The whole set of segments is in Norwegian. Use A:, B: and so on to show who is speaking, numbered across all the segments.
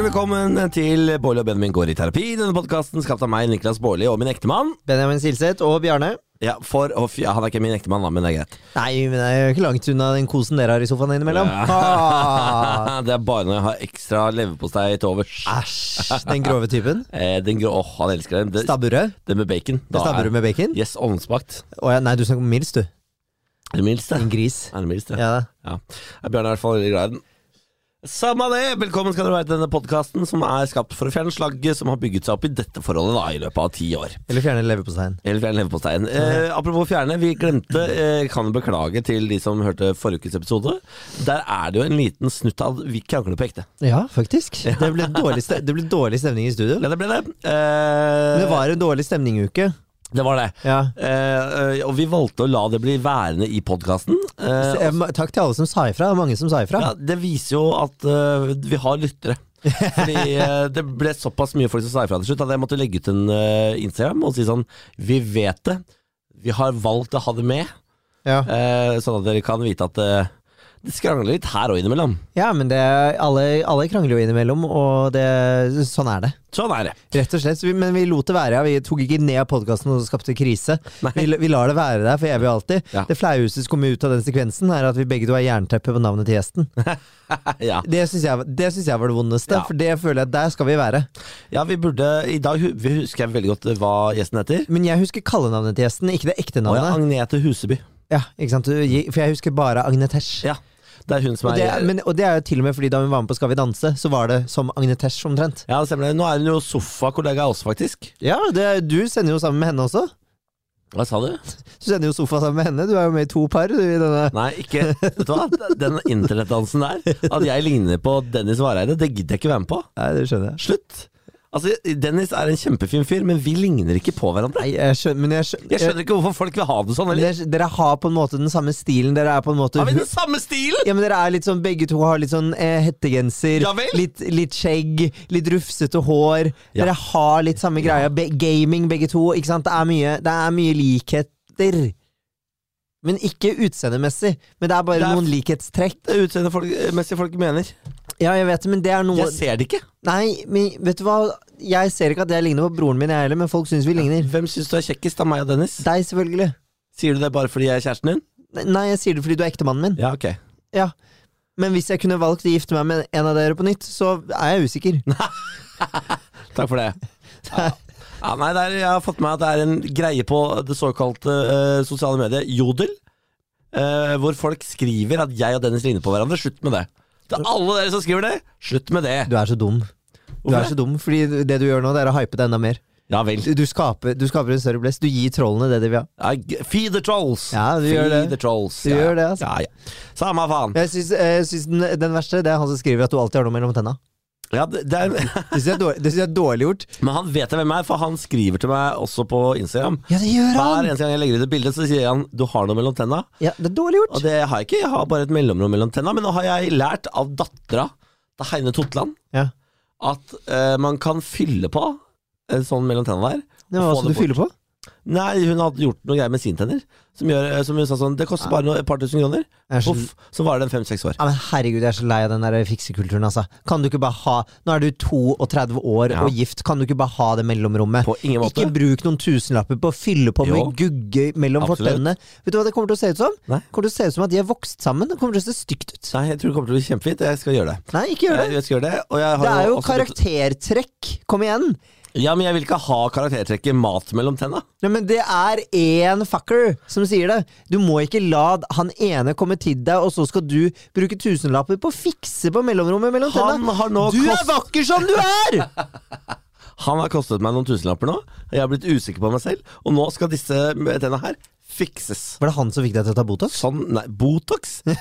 A: velkommen til Bårli og Benjamin går i terapi. Denne podkasten skapt av meg, Niklas Bårli, og min ektemann.
B: Benjamin Silseth og Bjarne.
A: Ja, for å fj- ja, Han er ikke min ektemann, da, men det er greit.
B: Nei, men det er jo ikke langt unna den kosen dere har i sofaen innimellom. Ah,
A: Det er bare når jeg har ekstra leverpostei til overs.
B: Æsj, den grove typen.
A: Eh, den grå, åh, han elsker den. Det,
B: Stabburød.
A: det med bacon. Da
B: Stabburød med bacon.
A: er- Yes, ovnsbakt.
B: Å ja, nei, du snakker om Mils, du.
A: Er det mildst,
B: En
A: det?
B: gris.
A: Er det mildst, det?
B: Ja.
A: Ja. Ja, Bjørn er i hvert fall veldig glad i den. Samme det! Velkommen skal dere være til denne podkasten som er skapt for å fjerne slagget som har bygget seg opp i dette forholdet da, i løpet av ti år.
B: Eller fjerne leverposteien.
A: Eller fjerne leverposteien. Eh, apropos fjerne, vi glemte, eh, kan jo beklage til de som hørte forrige ukes episode. Der er det jo en liten snutt av vi krangler på ekte.
B: Ja, faktisk. Det ble dårlig, ste det ble dårlig stemning i studio.
A: Ja, det ble det.
B: Men
A: Eh,
B: det var en dårlig stemning-uke.
A: det var det.
B: Ja.
A: Eh, eh, og vi valgte å la det bli værende i podkasten.
B: Så,
A: Eh,
B: eh, ma- Takk til alle som sa ifra. Det var Mange som sa ifra.
A: ja, det viser jo at eh, vi har lyttere. Fordi eh, det ble såpass mye folk som sa ifra til slutt at jeg måtte legge ut en eh, Instagram og si sånn Vi vet det. Vi har valgt å ha det med.
B: Ja.
A: Eh, sånn at dere kan vite at eh, det skrangler litt her og innimellom.
B: ja, men det, alle, alle krangler jo innimellom, og det, sånn er det.
A: Sånn er det.
B: Rett og slett, så vi, Men vi lot det være. Ja. Vi tok ikke ned podkasten og skapte krise.
A: Nei.
B: Vi, vi lar det være der for evig og alltid.
A: Ja.
B: Det flaueste som kommer ut av den sekvensen, er at vi begge to har jernteppe på navnet til gjesten.
A: Ja.
B: Det syns jeg, det synes jeg var det vondeste,
A: Ja.
B: for det føler jeg at der skal vi være.
A: ja, vi burde I dag hu- vi husker jeg veldig godt eh, hva gjesten heter.
B: Men jeg husker kallenavnet til gjesten, ikke det ekte
A: Og ja,
B: navnet.
A: Agnete Huseby.
B: ja, ikke sant? Du gi- For jeg husker bare Agnetesh.
A: Ja, Det er hun som
B: Og
A: er
B: det, er- men, og det er jo til og med fordi da hun var med på Skal vi danse, så var det som Agnetesh omtrent.
A: Ja, det stemmer det. Nå er hun jo sofakollega av oss, faktisk.
B: Ja, det, du sender jo sammen med henne også.
A: Hva sa du?
B: Du sender jo sofa sammen med henne. Du er jo med i to par du, i denne
A: Nei, ikke Vet du hva? Den internettdansen der, at jeg ligner på Dennis Vareide, det gidder jeg ikke være med på.
B: Nei, det skjønner jeg.
A: Slutt. Altså, Dennis er en kjempefin fyr, men vi ligner ikke på hverandre.
B: Nei, jeg skjønner, men jeg skjønner,
A: Jeg skjønner ikke hvorfor folk vil ha det sånn. Eller?
B: Dere, dere har på en måte den samme stilen. Dere er på en måte
A: Har vi den samme stilen?
B: ja, men dere er litt sånn, Begge to har litt sånn eh, hettegenser,
A: Ja vel?
B: litt, litt skjegg, litt rufsete hår.
A: Ja.
B: Dere har litt samme greia. Be gaming, begge to. ikke sant? Det er mye, det er mye likheter. Men ikke utseendemessig. Men det er bare
A: Det er-
B: noen likhetstrekk.
A: Det er utseendemessig folk mener.
B: Ja, jeg vet det, men det er noe
A: Jeg ser det ikke.
B: Nei, men vet du hva? Jeg ser ikke at jeg ligner på broren min, jeg heller, men folk syns vi ligner.
A: Hvem syns du er kjekkest av meg og Dennis?
B: Deg, selvfølgelig.
A: Sier du det bare fordi jeg er kjæresten din?
B: Nei, jeg sier det fordi du er ektemannen min.
A: Ja, ok.
B: Ja, men hvis jeg kunne valgt å gifte meg med en av dere på nytt, så er jeg usikker.
A: Takk for det. Ja. Ja, nei, det er, jeg har fått med at det er en greie på det såkalte eh, sosiale mediet Jodel, eh, hvor folk skriver at jeg og Dennis ligner på hverandre. Slutt med det. Til alle dere som skriver det, slutt med det.
B: Du er så dum. Du
A: Hvorfor
B: er så dum, fordi det du gjør nå, det er å hype det enda mer.
A: Ja vel.
B: Du, du, skaper, du skaper en større blest. Du gir trollene det de vil ha.
A: Ja, g- feed the trolls.
B: Ja, du
A: feed
B: gjør det.
A: the trolls.
B: Du
A: ja.
B: gjør det, altså.
A: Ja, ja. Samme faen.
B: Jeg syns, jeg syns den, den verste det er han som skriver at du alltid har noe mellom tenna.
A: Ja, det, det er,
B: Det syns jeg, er dårlig- det syns jeg er dårlig gjort.
A: men han vet jeg hvem er, for han skriver til meg også på Instagram.
B: Ja, det gjør
A: Hver
B: han!
A: eneste gang jeg legger ut et bilde, så sier han 'du har noe mellom tenna'.
B: Ja, det er dårlig
A: Og
B: gjort.
A: det har jeg ikke. Jeg har bare et mellomrom mellom tenna. Men nå har jeg lært av dattera til Heine Totland
B: Ja.
A: at eh, man kan fylle på en sånn mellom tenna der.
B: Det var
A: Få
B: hva
A: det
B: du fyller på?
A: Nei, hun hadde gjort noe greier med sine tenner. Som, gjør, som hun sa sånn Det koster bare noe, et par tusen kroner.
B: Jeg er så,
A: Poff, så varer den fem-seks år.
B: ja, men herregud, jeg er så lei av den der fiksekulturen, altså. Kan du ikke bare ha Nå er du 32 år
A: Ja.
B: og gift, kan du ikke bare ha det mellomrommet?
A: På ingen måte.
B: Ikke bruk noen tusenlapper på å fylle på
A: Jo.
B: med gugge mellom
A: Absolutt.
B: fortennene. Vet du hva det kommer til å se ut som?
A: Nei.
B: Det kommer til å se ut som at de er vokst sammen. Det kommer til å se stygt ut.
A: Nei, jeg tror det kommer til å bli kjempefint. Jeg skal gjøre det.
B: Nei, ikke gjør
A: Jeg,
B: det.
A: jeg skal gjøre det, og jeg har
B: Det er jo altså
A: også-
B: karaktertrekk. Kom igjen.
A: Ja, men jeg vil ikke ha karaktertrekket mat mellom tenna.
B: Nei, men det er én fucker som sier det. Du må ikke la han ene komme til deg, og så skal du bruke tusenlapper på å fikse på mellomrommet mellom
A: Han
B: tenna.
A: har nå
B: Du er
A: kost...
B: vakker som du er!
A: Han har kostet meg noen tusenlapper nå. Jeg har blitt usikker på meg selv, og nå skal disse tenna her fikses.
B: Var det han som fikk deg til å ta Botox?
A: Sånn, nei, Botox?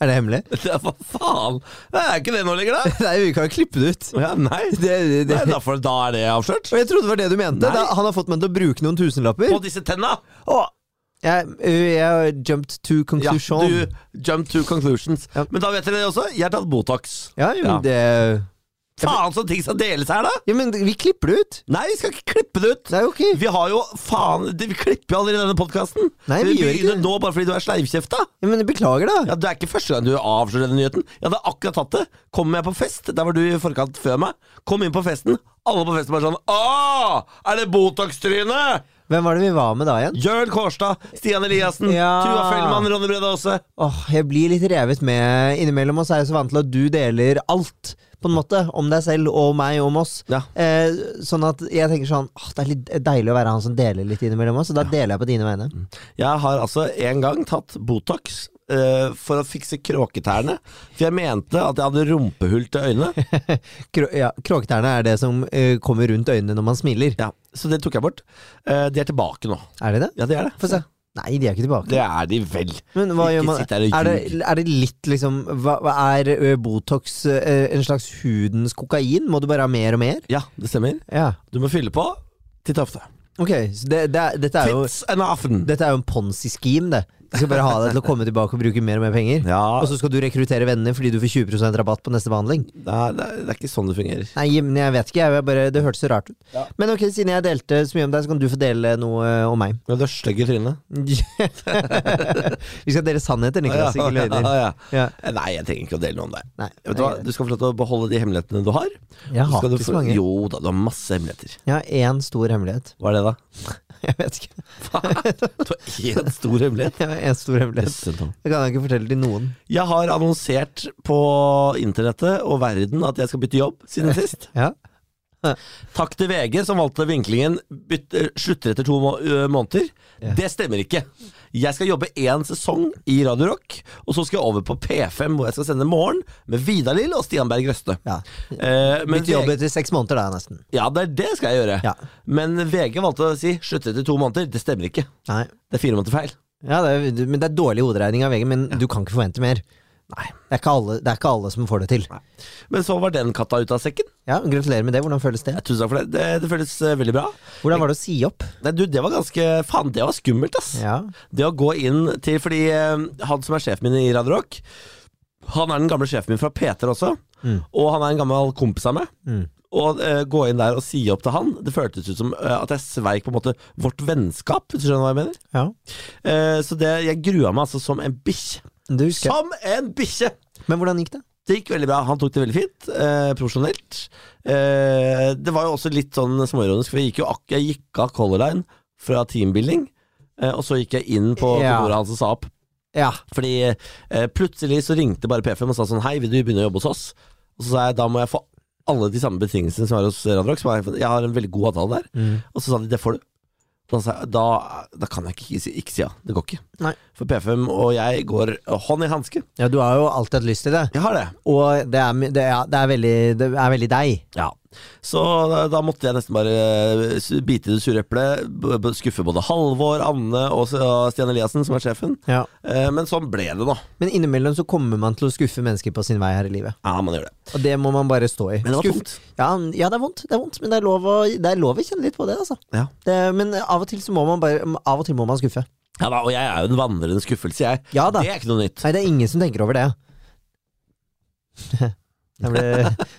A: Det
B: Er det hemmelig?
A: er for faen! Det er ikke det nå lenger, da!
B: Nei, vi kan jo klippe det ut.
A: Ja, nei,
B: Det, det, det.
A: nei da, får- da er det avslørt.
B: Og jeg trodde det var det du mente.
A: Nei.
B: Da, han har fått meg til å bruke noen tusenlapper.
A: På disse tenna!
B: Åh, jeg, jeg har jumped to
A: Ja,
B: conclusion. Ja,
A: du jump to conclusions.
B: Ja.
A: Men da vet dere det også, jeg har tatt Botox.
B: jo,
A: Ja.
B: det
A: Faen så ting skal deles her, da!
B: Ja, men vi klipper det ut!
A: Nei, vi skal ikke klippe det ut!
B: Det er jo ikke
A: Vi har jo faen det- Vi klipper jo allerede denne podkasten!
B: Nei, vi gjør ikke
A: begynner
B: det.
A: nå bare fordi du er sleivkjefta!
B: ja, Men beklager, da.
A: Ja, Det er ikke første gang du avslører denne nyheten. Jeg hadde akkurat tatt det. Kom jeg på fest, der var du i forkant før meg. Kom inn på festen. Alle på festen var sånn Åh, er det Botox-tryne?
B: Hvem var det vi var med da igjen?
A: Jørn Kårstad, Stian Eliassen,
B: Ja.
A: Tuva Fellmann, Ronny Brede Aase.
B: Åh, jeg blir litt revet med innimellom, og så er jeg så vant til at du deler alt, på en måte, om deg selv og meg om oss.
A: Ja.
B: Eh, sånn at jeg tenker sånn Åh, det er litt deilig å være han som deler litt innimellom oss, og da deler jeg på dine vegne.
A: Jeg har altså en gang tatt Botox eh, for å fikse kråketærne. For jeg mente at jeg hadde rumpehull til øynene.
B: Krå ja, Kråketærne er det som eh, kommer rundt øynene når man smiler.
A: Ja, så det tok jeg bort. Eh, de er tilbake nå.
B: Er det det?
A: Ja, de er det.
B: Få se. Nei, de er ikke tilbake.
A: Det er de vel.
B: Men hva
A: Ikke
B: gjør man?
A: sitt der og
B: Er det,
A: ljug.
B: er det litt liksom hva, hva Er ø, Botox ø, en slags hudens kokain? Må du bare ha mer og mer?
A: Ja, det stemmer.
B: Ja.
A: Du må fylle på. Titt ofte.
B: Ok, så det, det, er- dette er jo
A: Tits and often.
B: Dette er jo en ponzi-scheme, det. Du skal bare ha deg til å komme tilbake og bruke mer og mer penger.
A: Ja,
B: Og så skal du rekruttere venner fordi du får 20 rabatt på neste behandling.
A: det er, det er- det er ikke sånn det fungerer.
B: Nei, men jeg vet ikke. Jeg bare, det hørtes så rart ut.
A: Ja.
B: Men ok, siden jeg delte så mye om deg, så kan du få dele noe ø, om meg.
A: Men du er stygg i trynet.
B: Vi skal dele sannheter, Niklas. Ikke løgner.
A: Ja,
B: Ja.
A: ja. Nei, jeg trenger ikke å dele noe om deg.
B: Nei,
A: Vet du, hva? du skal få lov til å beholde de hemmelighetene du har.
B: jeg
A: Så
B: har
A: skal du
B: ikke
A: få-
B: så mange.
A: Jo da, du har masse hemmeligheter.
B: Jeg har én stor hemmelighet.
A: Hva er det, da?
B: Jeg vet ikke.
A: Du har én stor hemmelighet.
B: Jeg har én stor hemmelighet.
A: Jøsse, Tom.
B: Det kan jeg ikke fortelle til noen.
A: Jeg har annonsert på internettet og verden at jeg skal bytte jobb siden sist.
B: Ja.
A: Takk til VG som valgte vinklingen bytte, eh, slutter etter to må ø, måneder.
B: Ja.
A: Det stemmer ikke. Jeg skal jobbe én sesong i Radio Rock, og så skal jeg over på P5, hvor jeg skal sende Morgen med Vidar Lill og Stian Berg Røste.
B: ja.
A: Eh, men
B: Bytte jobb
A: VG,
B: etter seks måneder, da, nesten.
A: ja, det, er det skal jeg gjøre.
B: Ja.
A: Men VG valgte å si 'slutter etter to måneder'. Det stemmer ikke.
B: Nei.
A: Det er fire måneder feil.
B: Ja, det er, men det er dårlig hoderegning av VG, men du kan ikke forvente mer.
A: Nei.
B: Det er ikke alle, det er ikke alle som får det til.
A: Men så var den katta ute av sekken.
B: Ja, Gratulerer med det. Hvordan føles det?
A: Tusen takk for det. Det, det føles eh, veldig bra.
B: Hvordan var det å si opp?
A: Nei, du, det var ganske Faen, det var skummelt, ass.
B: Ja,
A: Det å gå inn til Fordi eh, han som er sjefen min i Radio Rock Han er den gamle sjefen min fra Peter også
B: Mm.
A: Og han er en gammel kompis av meg
B: Mm.
A: Og eh, gå inn der og si opp til han Det føltes ut som eh, at jeg sveik på en måte Vårt vennskap, hvis du skjønner hva jeg mener
B: ja.
A: Eh, Så det, jeg grua meg altså som en bikkje.
B: Det husker jeg.
A: Som en bikkje!
B: Men hvordan gikk det?
A: Det gikk veldig bra. Han tok det veldig fint. Eh, profesjonelt. Eh, det var jo også litt sånn småironisk, for jeg gikk jo ak jeg gikk av Color Line fra teambuilding, eh, og så gikk jeg inn på
B: Ja.
A: kontoret hans og sa opp.
B: Ja.
A: Fordi eh, plutselig så ringte bare P5 og sa sånn Hei, vil du begynne å jobbe hos oss? Og så sa jeg da må jeg få alle de samme betingelsene som er hos Radrox. Jeg har en veldig god avtale der.
B: Mm.
A: Og så sa de det får du. Da, sa jeg, da, da kan jeg ikke si, ikke si ja. Det går ikke.
B: Nei.
A: For P5 og jeg går hånd i hanske.
B: ja, du har jo alltid hatt lyst til det.
A: Jeg har det.
B: Og det er, my- det er, det er, veldig, det er veldig deg.
A: Ja. Så da, da måtte jeg nesten bare eh, s- bite i det sure eplet, b- b- skuffe både Halvor, Anne og s- og Stian Eliassen, som er sjefen.
B: Ja.
A: Eh, Men sånn ble det nå.
B: Men innimellom så kommer man til å skuffe mennesker på sin vei her i livet.
A: Ja, man gjør det.
B: Og det må man bare stå i.
A: Men det var
B: Skuff-
A: tungt.
B: Ja, ja, det er vondt, det er vondt men det er, lov å, det er lov å kjenne litt på det, altså.
A: Ja.
B: Det, men av og til så må man bare Av og til må man skuffe.
A: Ja da, og jeg er jo en vandrende skuffelse, jeg.
B: Ja da.
A: Det er ikke noe nytt.
B: Nei, det er ingen som tenker over det. Det ble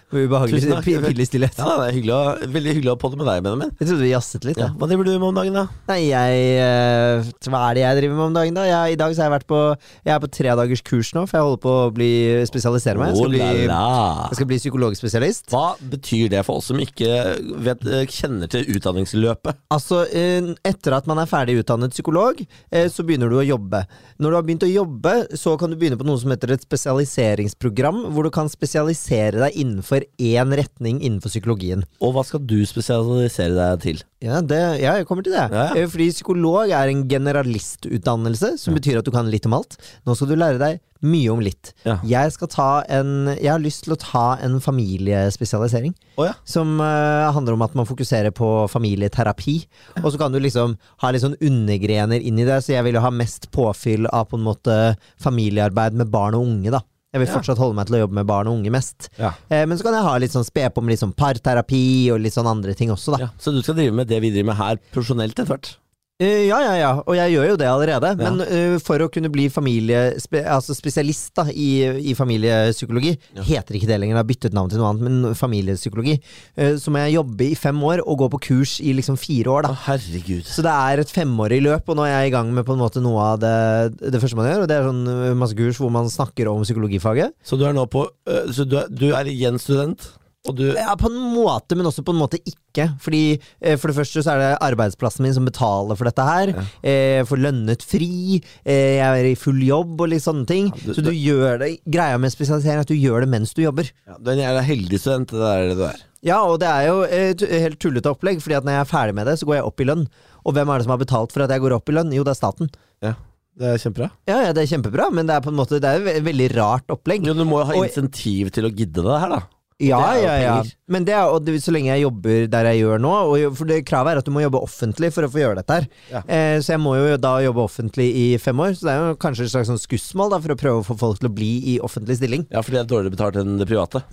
B: ble ubehagelig
A: Tusen takk.
B: pi- pillestillhet.
A: Ja, det er hyggelig å, Veldig hyggelig å podde med deg, Benjamin.
B: Jeg trodde vi jazzet litt.
A: Ja.
B: Ja.
A: Hva driver du med om dagen, da?
B: Nei, jeg eh, Hva er det jeg driver med om dagen, da? Jeg, I dag så har jeg vært på Jeg er på tredagers kurs nå, for jeg holder på å bli spesialisere meg.
A: Oh
B: Jeg skal
A: la
B: bli,
A: la.
B: jeg skal bli psykologspesialist.
A: Hva betyr det for oss som ikke vet, eh, kjenner til utdanningsløpet?
B: Altså, eh, etter at man er ferdig utdannet psykolog, eh, så begynner du å jobbe. Når du har begynt å jobbe, så kan du begynne på noe som heter et spesialiseringsprogram, hvor du kan spesialisere deg innenfor én retning innenfor psykologien.
A: Og hva skal du spesialisere deg til?
B: Ja, det, ja, jeg kommer til det.
A: Ja, ja.
B: Eh, Fordi psykolog er en generalistutdannelse, som betyr at du kan litt om alt. Nå skal du lære deg mye om litt.
A: Ja.
B: Jeg, skal ta en, jeg har lyst til å ta en familiespesialisering,
A: Å ja.
B: som eh, handler om at man fokuserer på familieterapi. Og så kan du liksom ha litt sånn undergrener inn i det, så jeg vil jo ha mest påfyll av på en måte familiearbeid med barn og unge, da. Jeg vil
A: Ja.
B: fortsatt holde meg til å jobbe med barn og unge mest.
A: Ja.
B: Eh, Men så kan jeg ha litt sånn spe på med litt sånn parterapi og litt sånn andre ting også, da.
A: Så du skal drive med det vi driver med her, profesjonelt etter hvert?
B: Eh, Ja, ja, ja, og jeg gjør jo det allerede. Men eh, for å kunne bli familie, spe, altså spesialist da, i, i familiepsykologi, heter ikke det lenger, jeg har byttet navn til noe annet, men familiepsykologi, eh, så må jeg jobbe i fem år og gå på kurs i liksom fire år. da.
A: Å, herregud.
B: Så det er et femårig løp, og nå er jeg i gang med på en måte noe av det, det første man gjør. Og det er sånn eh, masse kurs hvor man snakker om psykologifaget.
A: Så du er nå på øh, Så du er, du er igjen student, og du
B: Ja, på en måte, men også på en måte ikke. Fordi eh, For det første så er det arbeidsplassen min som betaler for dette her. Eh, jeg får lønnet fri, eh, jeg er i full jobb og litt sånne ting.
A: du-
B: så du gjør det greia med spesialisering er at du gjør det mens du jobber.
A: ja, Du er en jævla heldig student, det er det du er.
B: Ja, og det er jo et helt tullete opplegg, Fordi at når jeg er ferdig med det, så går jeg opp i lønn. Og hvem er det som har betalt for at jeg går opp i lønn? Jo, det er staten.
A: Ja, Det er kjempebra.
B: Ja, ja, det er kjempebra, men det er på en måte Det er jo et veldig rart opplegg.
A: Jo, du må jo ha
B: Og-
A: insentiv til å gidde det her, da.
B: Ja,
A: Det er jo
B: ja, ja.
A: penger.
B: Men det er, og det, så lenge jeg jobber der jeg gjør nå og jo- For det Kravet er at du må jobbe offentlig for å få gjøre dette her.
A: Ja.
B: Eh, så jeg må jo da jobbe offentlig i fem år. Så det er jo kanskje et slags sånn skussmål da, for å prøve å få folk til å bli i offentlig stilling.
A: Ja, fordi det er dårligere betalt enn det private.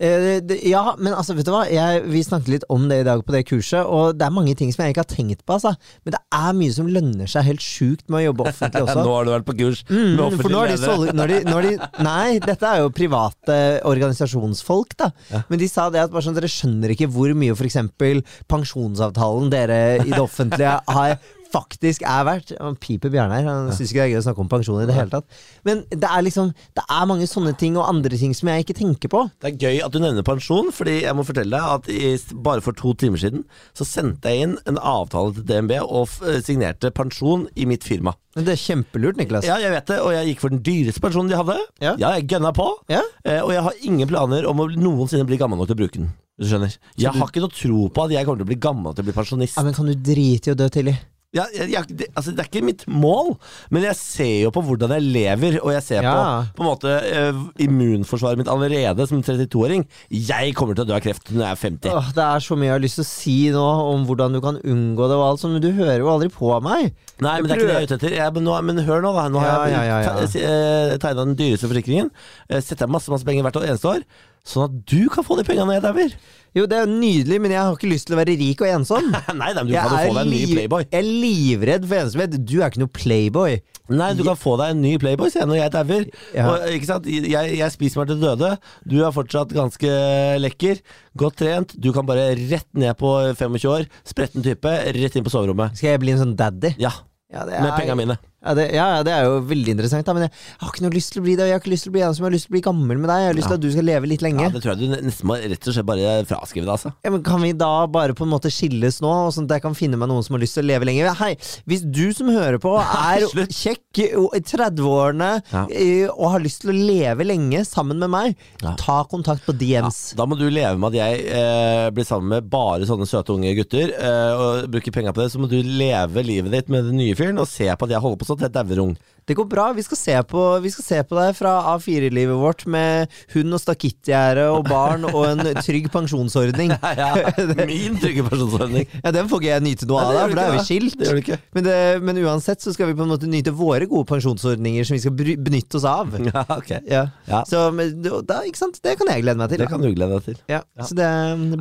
B: Eh, det, ja, men altså, vet du hva? Jeg, vi snakket litt om det i dag på det kurset, og det er mange ting som jeg ikke har tenkt på, altså. Men det er mye som lønner seg helt sjukt med å jobbe offentlig også.
A: Nå har du vært på kurs med
B: Mm, for nå
A: offentlige
B: har de
A: ledere.
B: solgt når de, når de, Nei, dette er jo private organisasjonsfolk, da. Men de sa det at bare sånn, dere skjønner ikke hvor mye f.eks. pensjonsavtalen dere i det offentlige har faktisk er verdt. Han piper Bjarne her, han syns ikke det er gøy å snakke om pensjon i det hele tatt. Men det er liksom Det er mange sånne ting og andre ting som jeg ikke tenker på.
A: Det er gøy at du nevner pensjon, fordi jeg må fortelle deg at i, bare for to timer siden så sendte jeg inn en avtale til DNB og f eh, signerte pensjon i mitt firma.
B: Men det er kjempelurt, Niklas.
A: Ja, jeg vet det, og jeg gikk for den dyreste pensjonen de hadde.
B: Ja.
A: jeg gønna på.
B: Ja.
A: Eh, og jeg har ingen planer om å noensinne bli gammel nok til å bruke den. Hvis du skjønner. Jeg har ikke noe tro på at jeg kommer til å bli gammel til å bli pensjonist.
B: Ja, men kan du drite i å dø tidlig?
A: Ja, jeg, jeg, det, altså, det er ikke mitt mål, men jeg ser jo på hvordan jeg lever, og jeg ser
B: Ja.
A: på, på en måte eh, immunforsvaret mitt allerede som 32-åring. Jeg kommer til å dø av kreft når jeg er 50.
B: Åh, det er så mye jeg har lyst til å si nå om hvordan du kan unngå det og alt sånt, men du hører jo aldri på meg.
A: Nei, men det er ikke det jeg er ute etter. Jeg, men, nå, men hør nå, da. Nå har
B: Ja, ja, ja, ja.
A: jeg tegna eh, den dyreste forsikringen. Eh, Setter jeg masse masse penger hvert eneste år, sånn at du kan få de pengene når jeg dauer.
B: Jo, det er jo nydelig, men jeg har ikke lyst til å være rik og ensom.
A: Nei, nei, men du kan jo få deg en ny
B: liv-
A: Playboy.
B: jeg er livredd for ensomhet. Du er ikke noe playboy.
A: Nei, du kan få deg en ny Playboy, sier jeg, når jeg dauer.
B: Ja.
A: Og, Ikke sant? Jeg, jeg spiser meg til døde. Du er fortsatt ganske lekker, godt trent. Du kan bare rett ned på 25 år, spretten type, rett inn på soverommet.
B: Skal jeg bli en sånn daddy?
A: Ja,
B: Ja, det
A: med penga mine.
B: Ja det, ja, ja, det er jo veldig interessant, da, men jeg har ikke noe lyst til å bli det. og Jeg har ikke lyst til å bli ensom, jeg har lyst til å bli gammel med deg. Jeg har lyst til at du skal leve litt lenge.
A: Ja,
B: Ja,
A: det tror jeg du nesten må rett og slett bare fraskrive deg, altså.
B: men kan vi da bare på en måte skilles nå, og sånn at jeg kan finne meg noen som har lyst til å leve lenger? Hei, hvis du som hører på er
A: Slutt.
B: kjekk og i 30-årene
A: Ja.
B: eh, og har lyst til å leve lenge sammen med meg,
A: Ja.
B: ta kontakt på DMs.
A: Da må du leve med at jeg eh, blir sammen med bare sånne søte unge gutter eh, og bruker penga på det. Så må du leve livet ditt med den nye fyren og se på at jeg holder på sånn til jeg dauer ung.
B: Det går bra. Vi skal se på, vi skal se på deg fra A4-livet vårt med hund og stakittgjerde og barn og en trygg pensjonsordning.
A: Ja, min trygge pensjonsordning.
B: Ja, Den får ikke jeg nyte noe av,
A: Nei,
B: da,
A: det gjør du
B: for da er vi
A: ikke,
B: skilt.
A: Det gjør du ikke.
B: Men, det, men uansett så skal vi på en måte nyte våre gode pensjonsordninger som vi skal bry- benytte oss av.
A: Ja, ok.
B: Ja.
A: Ja.
B: Så men, da, ikke sant? Det kan jeg glede meg til.
A: Det
B: Da.
A: kan du glede deg til.
B: Ja. Så det,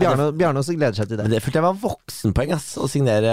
B: Bjarne, Bjarne også gleder seg til det.
A: Men det følte jeg var voksenpoeng, ass. Å signere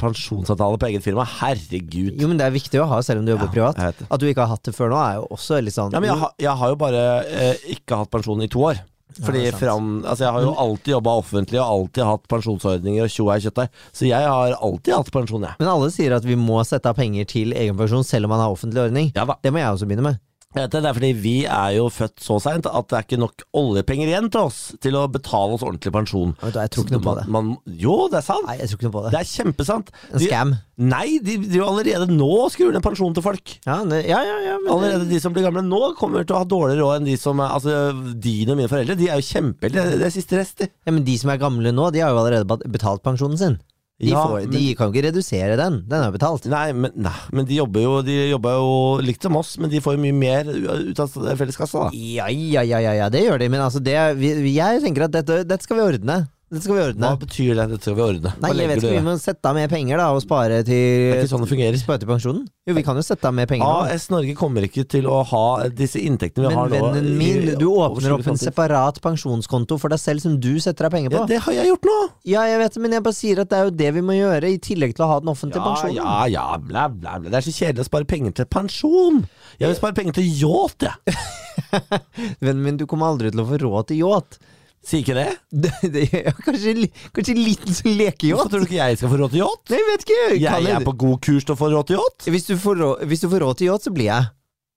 A: pensjonsavtale på eget firma. Herregud.
B: Jo, men det er viktig å ha selv om du jobber privat.
A: jeg vet det.
B: At du ikke har hatt det før nå, er jo også litt sånn
A: Ja, men jeg, har- jeg har jo bare eh, ikke hatt pensjon i to år. Fordi
B: det er sant.
A: fram, altså Jeg har jo alltid jobba offentlig og alltid hatt pensjonsordninger og tjo ei kjøttdeig. Så jeg har alltid hatt pensjon, jeg.
B: Men alle sier at vi må sette av penger til egenpensjon selv om man har offentlig ordning.
A: Ja da.
B: Det må jeg også begynne med.
A: Jeg vet Det det er fordi vi er jo født så seint at det er ikke nok oljepenger igjen til oss til å betale oss ordentlig pensjon.
B: Vet du, jeg tror ikke noe på det.
A: Man, jo, det er sant.
B: Nei, jeg tror ikke noe på det.
A: Det er kjempesant.
B: En
A: De,
B: scam.
A: nei, de driver allerede nå og skrur ned pensjonen til folk.
B: Ja, ne, ja, ja, ja, men
A: Allerede de som blir gamle nå, kommer til å ha dårligere råd enn de som er- Altså, dine og mine foreldre, de er jo kjempeheldige. Det- Det er siste rest, de.
B: ja, men de som er gamle nå, de har jo allerede bat- betalt pensjonen sin. De,
A: Ja,
B: får,
A: men-
B: de kan jo ikke redusere den. Den er jo betalt.
A: Nei, men, nei, men de jobber jo De jobber jo likt som oss, men de får jo mye mer u- ut av felleskassa, da.
B: Ja, ja, ja, ja, ja det gjør de. Men altså, det, vi, vi- jeg tenker at dette, dette skal vi ordne. Det skal vi ordne.
A: Hva betyr det? Dette skal vi ordne. Hva
B: Nei, jeg
A: legger
B: vet
A: du i
B: ikke, Vi
A: det?
B: må sette av mer penger da og spare
A: Det er
B: til
A: ikke sånn det fungerer.
B: Spare til pensjonen? Jo, vi kan jo sette av mer penger. nå.
A: AS Norge kommer ikke til å ha disse inntektene vi
B: Men
A: har nå.
B: vennen
A: i-
B: min, du åpner
A: overskuelig
B: opp en
A: framtid.
B: separat pensjonskonto for deg selv som du setter av penger på.
A: ja, Det har jeg gjort nå!
B: Ja, jeg vet det, men jeg bare sier at det er jo det vi må gjøre, i tillegg til å ha den offentlige
A: Ja,
B: pensjonen.
A: ja, ja, bla, bla, bla. Det er så kjedelig å spare penger til pensjon! Jeg vil spare penger til yacht, jeg.
B: Vennen min, du kommer aldri til å få råd til yacht.
A: Sier ikke det?
B: Det, det, ja, kanskje, li- kanskje en liten sånn
A: Hvorfor
B: lekeyacht?
A: tror du ikke jeg skal få råd til yacht?
B: Nei, jeg vet ikke. Kan
A: Jeg
B: jeg-
A: er på god kurs til å få råd til yacht.
B: hvis, du får råd, hvis du får råd til yacht, så blir jeg.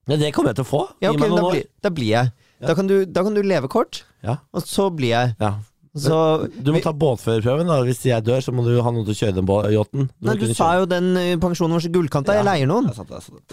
A: Ja, det kommer jeg til å få.
B: Ja, ok,
A: Gi meg
B: da,
A: noen år.
B: blir, da blir jeg. Da, kan du, da kan du leve kort,
A: Ja.
B: og så blir jeg.
A: Ja.
B: Så
A: Du må ta båtførerprøven. da Hvis jeg dør, så må du ha noen til å kjøre den bå- yachten.
B: Nei, du sa sånn. jo den eh, pensjonen var så gullkanta.
A: Ja.
B: Jeg leier noen.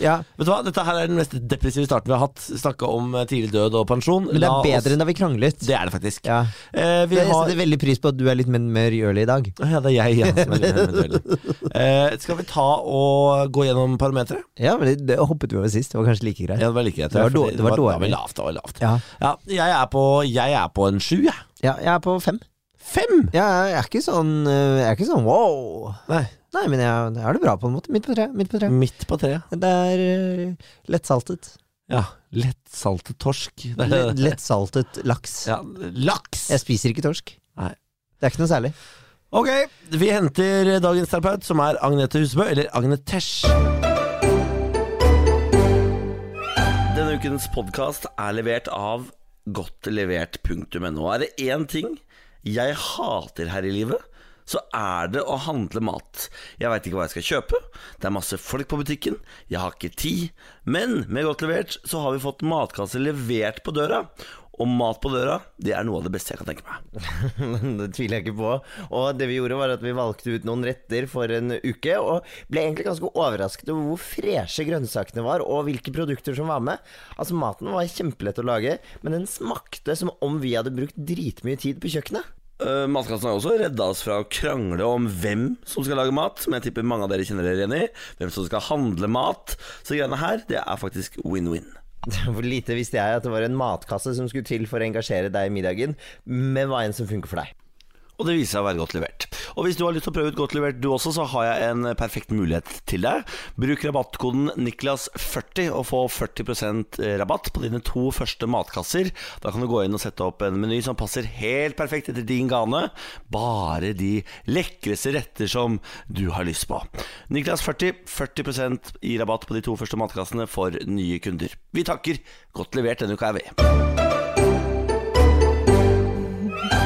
B: Ja.
A: Vet du hva, Dette her er den mest depressive starten vi har hatt. Snakka om eh, tidlig død og pensjon.
B: Men det
A: La
B: er
A: oss-
B: bedre enn da vi kranglet.
A: Det er det faktisk.
B: Ja.
A: Eh, vi
B: Jeg
A: har
B: setter veldig pris på at du er litt mer medgjørlig i dag.
A: Ja, det er jeg igjen som er litt mer eventuell. Eh, skal vi ta og gå gjennom parameteret?
B: Ja, men det, det hoppet vi over sist. Det var kanskje like greit.
A: Ja, det var like greit.
B: Det var
A: fordi
B: dårlig- det var
A: det
B: dårlig.
A: var lavt. Det var lavt.
B: Ja.
A: Ja, jeg er på, jeg er på en sju, jeg.
B: Ja, jeg er på fem.
A: Fem!
B: Ja, jeg er ikke sånn øh, Jeg er ikke sånn wow.
A: Nei,
B: Nei, men jeg, jeg har det bra på en måte. Midt på tre. Midt på tre.
A: midt på treet.
B: Det er øh, lettsaltet.
A: Ja, lettsaltet torsk. Det
B: Le,
A: er-
B: lettsaltet laks.
A: Ja, laks!
B: Jeg spiser ikke torsk.
A: Nei.
B: Det er ikke noe særlig.
A: Ok, vi henter dagens terapeut, som er Agnete Husebø, eller Agnetesh.
C: Denne ukens podkast er levert av godtlevert.no. Er det én ting jeg hater her i livet, så er det å handle mat. Jeg veit ikke hva jeg skal kjøpe, det er masse folk på butikken, jeg har ikke tid. Men med Godt levert så har vi fått matkasse levert på døra. Og mat på døra, det er noe av det beste jeg kan tenke meg.
D: Det tviler jeg ikke på. Og det vi gjorde, var at vi valgte ut noen retter for en uke, og ble egentlig ganske overrasket over hvor freshe grønnsakene var, og hvilke produkter som var med. Altså, maten var kjempelett å lage, men den smakte som om vi hadde brukt dritmye tid på kjøkkenet.
C: Eh, matkassen har også redda oss fra å krangle om hvem som skal lage mat, som jeg tipper mange av dere kjenner dere igjen i. Hvem som skal handle mat. Så greiene her, det er faktisk win-win.
D: For lite visste jeg at det var en matkasse som skulle til for å engasjere deg i middagen, men hva enn som funker for deg.
C: Og det viser seg å være godt levert. Og hvis du har lyst til å prøve ut godt levert du også, så har jeg en perfekt mulighet til deg. Bruk rabattkoden Niklas40 og få 40 rabatt på dine to første matkasser. Da kan du gå inn og sette opp en meny som passer helt perfekt etter din gane. Bare de lekreste retter som du har lyst på. Niklas40 40 i rabatt på de to første matkassene for nye kunder. Vi takker. Godt levert denne uka er vi.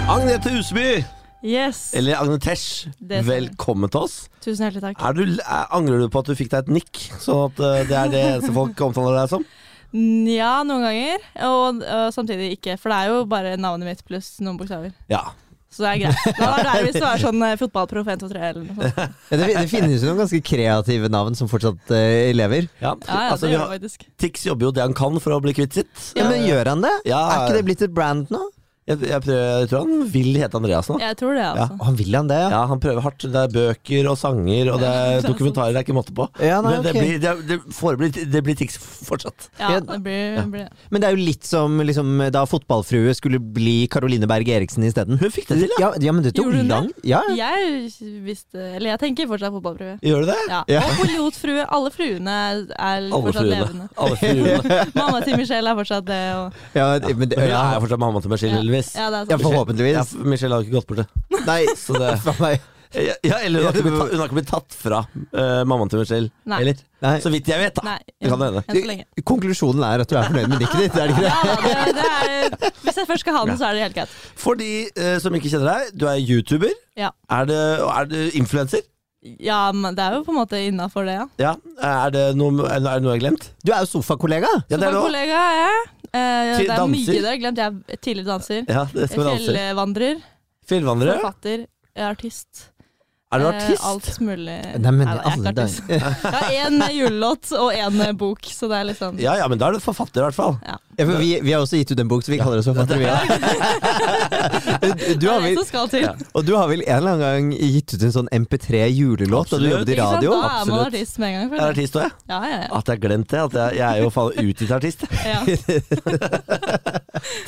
A: Agnete Huseby,
E: Yes.
A: eller Agnetesh,
E: Det stemmer.
A: velkommen til oss.
E: Tusen hjertelig takk.
A: Er du, er, angrer du på at du fikk deg et nikk, sånn at eh, det er det eneste folk omtaler deg som?
E: Nja, noen ganger. Og, og samtidig ikke, for det er jo bare navnet mitt pluss noen bokstaver.
A: Ja.
E: Så det er greit. Da er det greit hvis det er sånn eh, fotballproff 123 eller noe sånt.
B: Ja, det, det finnes jo noen ganske kreative navn som fortsatt øh, lever.
A: ja.
E: Ja, ja,
A: altså,
E: det
A: vi
E: gjør
A: har,
E: det faktisk.
A: Tix jobber jo det han kan for å bli kvitt sitt.
B: Ja, men gjør han det?
A: Ja.
B: Er ikke det blitt et brand nå?
A: Jeg, jeg, prøver, jeg tror han vil hete Andreas nå.
E: Jeg tror det, altså.
B: Å, han vil han det, ja?
A: Ja, han prøver hardt. Det er bøker og sanger, og det er dokumentarer det er ikke måte på.
B: Ja, nei,
A: Men det
B: ok.
A: blir, det, det forblir, det blir tics fortsatt.
E: Ja, det blir, blir det.
B: Men det er jo litt som liksom, da fotballfrue skulle bli Caroline Berg Eriksen isteden.
A: Hun fikk det til, ja.
B: Ja, ja, men det tok
E: Gjorde hun det?
B: lang ja. ja.
E: Jeg visste Eller jeg tenker fortsatt fotballprøve.
A: Gjør du det?
E: Ja.
B: Ja.
E: Og pilotfrue. Alle fruene er
A: Alle
E: fortsatt
A: fruene.
E: levende.
A: Alle fruene.
E: Mamma til Michelle er fortsatt det. Og,
B: Ja, men det,
A: Hun
B: ja,
A: er fortsatt mamma til Michelle, heldigvis.
E: ja, det er sånn.
B: ja,
E: sant.
A: Ja,
B: forhåpentligvis.
A: for Michelle har jo ikke gått bort det.
B: Nei,
A: Så det
B: faen meg.
A: ja, ja, eller hun har ikke blitt, ta- hun har ikke blitt tatt fra eh, mammaen til Michelle.
E: Nei.
A: Eller?
B: Nei.
A: Så vidt jeg vet, da.
E: Nei,
A: Det kan
E: enn
A: hende.
E: så lenge.
B: Konklusjonen er at du er fornøyd med nikket ditt, er det ikke det?
E: Ja, da, det, det er, hvis jeg først skal ha den, så er det helt greit.
A: For de eh, som ikke kjenner deg, du er YouTuber.
E: Ja.
A: Er det, og er det influenser?
E: Ja, men det er jo på en måte innafor det, ja.
A: Ja. Er det noe, er det noe jeg har glemt?
B: Du er jo sofakollega!
A: Ja, det er det også.
E: Sofakollega er jeg. Eh,
A: Til
E: det er mye
A: danser.
E: dere har glemt. Jeg er tidligere danser.
A: Ja, det skal vi danse.
E: Fjellvandrer.
A: Fjellvandrere?
E: Forfatter. jeg er Artist.
A: Er du
E: Eh,
A: artist?
E: alt mulig.
B: Nei, men
E: da, jeg er
B: alle
E: ikke artist. Jeg har én julelåt og én bok, så det er liksom
A: Ja ja, men da er du forfatter, i hvert fall.
E: Ja.
B: Ja, for vi, vi har også gitt ut en bok, så vi kaller oss for Fattigvia. Du
E: Det
B: har
E: er det
B: vel,
E: som skal til.
B: og du har vel en eller annen gang gitt ut en sånn MP3-julelåt da du
A: Absolutt.
B: jobbet i
E: Ikke sant?
B: radio?
E: Da er man
A: absolutt.
E: artist med en gang.
A: Jeg er
E: føler jeg.
A: artist òg, jeg.
E: Ja, ja, ja.
A: At jeg har glemt det. At jeg, jeg er jo faen utgitt artist.
E: ja.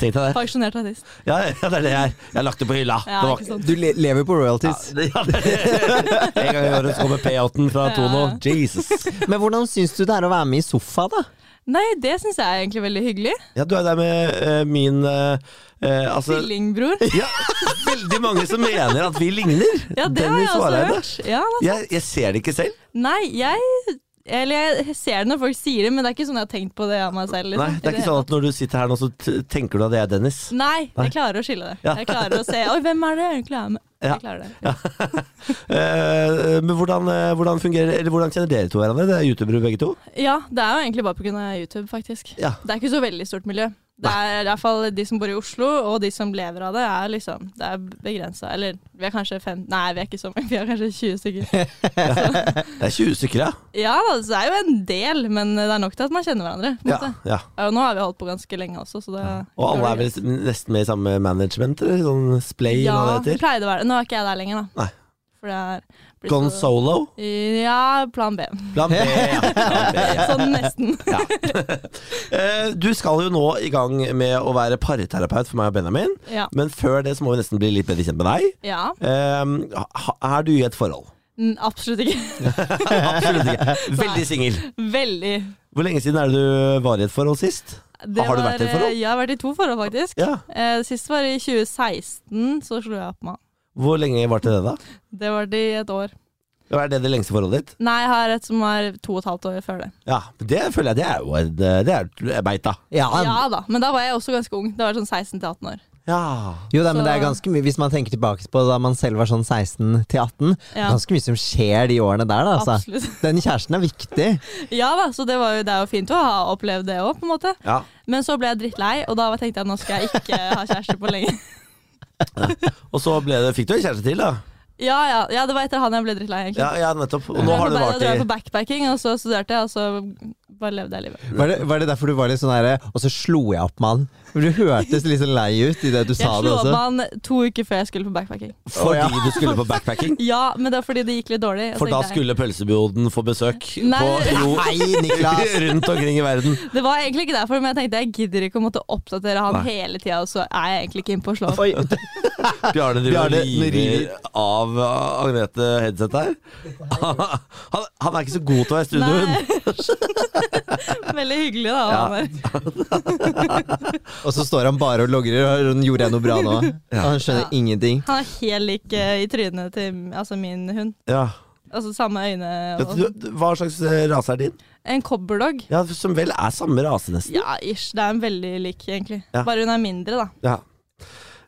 A: Tenk deg det.
E: Pensjonert artist.
A: Ja, ja, det er det jeg er. Jeg har lagt det på hylla.
E: Ja,
A: det var
E: ikke sant.
B: Du le lever på royalties.
A: Ja, det, ja, det, er det. En gang i året så kommer payouten fra
E: Ja.
A: Tono. Jesus.
B: Men hvordan syns du det er å være med i sofa, da?
E: Nei, det syns jeg er egentlig veldig hyggelig.
A: Ja, du er der med eh, min eh, eh, Altså
E: Tvillingbror.
A: ja, Veldig mange som mener at vi ligner.
E: Ja, det har
A: Dennis
E: jeg også
A: Vareide.
E: hørt. Ja, da.
A: Jeg, jeg ser det ikke selv.
E: Nei, jeg Eller jeg ser det når folk sier det, men det er ikke sånn jeg har tenkt på det av meg selv.
A: Nei,
E: liksom.
A: Det er ikke sånn at når du sitter her nå, så t- tenker du at det er Dennis.
E: Nei, jeg klarer å skille det.
A: Ja.
E: Jeg klarer å se Oi, hvem er det jeg egentlig er med?
A: Ja.
E: Jeg klarer det. Mm.
A: Eh, men hvordan, eh, hvordan fungerer Eller hvordan kjenner dere to hverandre? Det er youtubere begge to.
E: Ja, det er jo egentlig bare pga. YouTube, faktisk.
A: Ja.
E: Det er ikke så veldig stort miljø. Det er i hvert fall de som bor i Oslo, og de som lever av det, er liksom Det er begrensa. Eller vi er kanskje fem Nei, vi er ikke så mange. Vi er kanskje 20 stykker.
A: Det er 20 stykker, ja.
E: Ja, altså, det er jo en del, men det er nok til at man kjenner hverandre. på en
A: ja,
E: måte.
A: ja.
E: Og nå har vi holdt på ganske lenge også, så det
A: Og alle er vel nesten med i samme management? Eller sånn splay,
E: Ja,
A: hva
E: det
A: det heter.
E: pleide å være det. Nå er ikke jeg der lenger, da.
A: Nei.
E: For det er blitt
A: Gone
E: så-
A: solo?
E: Ja, plan B.
A: Plan B. Ja. Plan B ja.
E: Sånn nesten.
A: Eh, Du skal jo nå i gang med å være parterapeut for meg og Benjamin.
E: Ja.
A: Men før det så må vi nesten bli litt bedre kjent med deg.
E: ja.
A: Eh, ha- er du i et forhold?
E: Mm, Absolutt ikke.
A: Absolutt ikke. Veldig singel.
E: Veldig.
A: Hvor lenge siden er det du var i et forhold sist?
E: Det
A: Har du vært i et
E: var,
A: forhold?
E: eh, Jeg har vært i to forhold, faktisk.
A: Ja.
E: Eh, Sist var i 2016, så slo jeg opp med han.
A: Hvor lenge varte det, da?
E: Det var det i et år.
A: Er det det lengste forholdet ditt?
E: Nei, jeg har et som er to og et halvt år før det.
A: Ja, det føler jeg det er jo en- Det er et beita.
B: Ja,
E: Ja da, men da var jeg også ganske ung. Da var jeg sånn 16 til 18 år.
A: Ja.
B: Jo da, men
E: Så-
B: det er ganske mye Hvis man tenker tilbake på da man selv var sånn 16 til 18,
E: Ja.
B: ganske mye som skjer de årene der, da. Altså.
E: Absolutt.
B: Den kjæresten er viktig.
E: Ja da, så det, var jo, det er jo fint å ha opplevd det òg, på en måte.
A: ja.
E: Men så ble jeg drittlei, og da tenkte jeg nå skal jeg ikke ha kjæreste på lenge.
A: Og så ble det, fikk du en kjæreste til, da.
E: Ja, ja, ja, det var etter han jeg ble drittlei, egentlig.
A: Ja, ja nettopp. Og nå har det
E: Jeg dro
A: vart i
E: på backpacking, og så studerte jeg, og så bare levde jeg livet.
B: Var det, var det derfor du var litt sånn herre Og så slo jeg opp med han. For du hørtes litt sånn lei ut i det du
E: Jeg
B: sa det
E: slo opp
B: også.
E: med han to uker før jeg skulle på backpacking.
A: fordi
B: Å, ja.
A: du skulle på backpacking.
E: Ja, men det er fordi det gikk litt dårlig. Jeg
A: For da
E: tenkte,
A: skulle pølseboden få besøk
E: Nei.
A: på jo
B: Nei, Niklas!
A: rundt omkring i verden.
E: Det var egentlig ikke derfor, men jeg tenkte jeg gidder ikke å måtte oppdatere han
A: Nei.
E: hele tida, og så er jeg egentlig ikke inne på å slå opp.
B: Oi,
A: Bjarne driver
B: Bjarne
A: og river
B: river.
A: av uh, Agnete headset her. Han, han er ikke så god til å være i studio, hun.
E: Nei. Veldig hyggelig, da.
A: Ja.
E: han der.
B: og så står han bare og logrer. og hører, Gjorde jeg noe bra nå? Og han skjønner ingenting.
E: Han er helt lik eh, i trynet til altså min hund.
A: Ja.
E: Altså samme øyne.
A: Vet
E: Og...
A: du, Hva slags eh, rase er din?
E: En cobberdog.
A: Ja, Som vel er samme rase, nesten.
E: Ja, ish. Det er en veldig lik, egentlig.
A: Ja.
E: Bare hun er mindre, da.
A: Ja. Eh.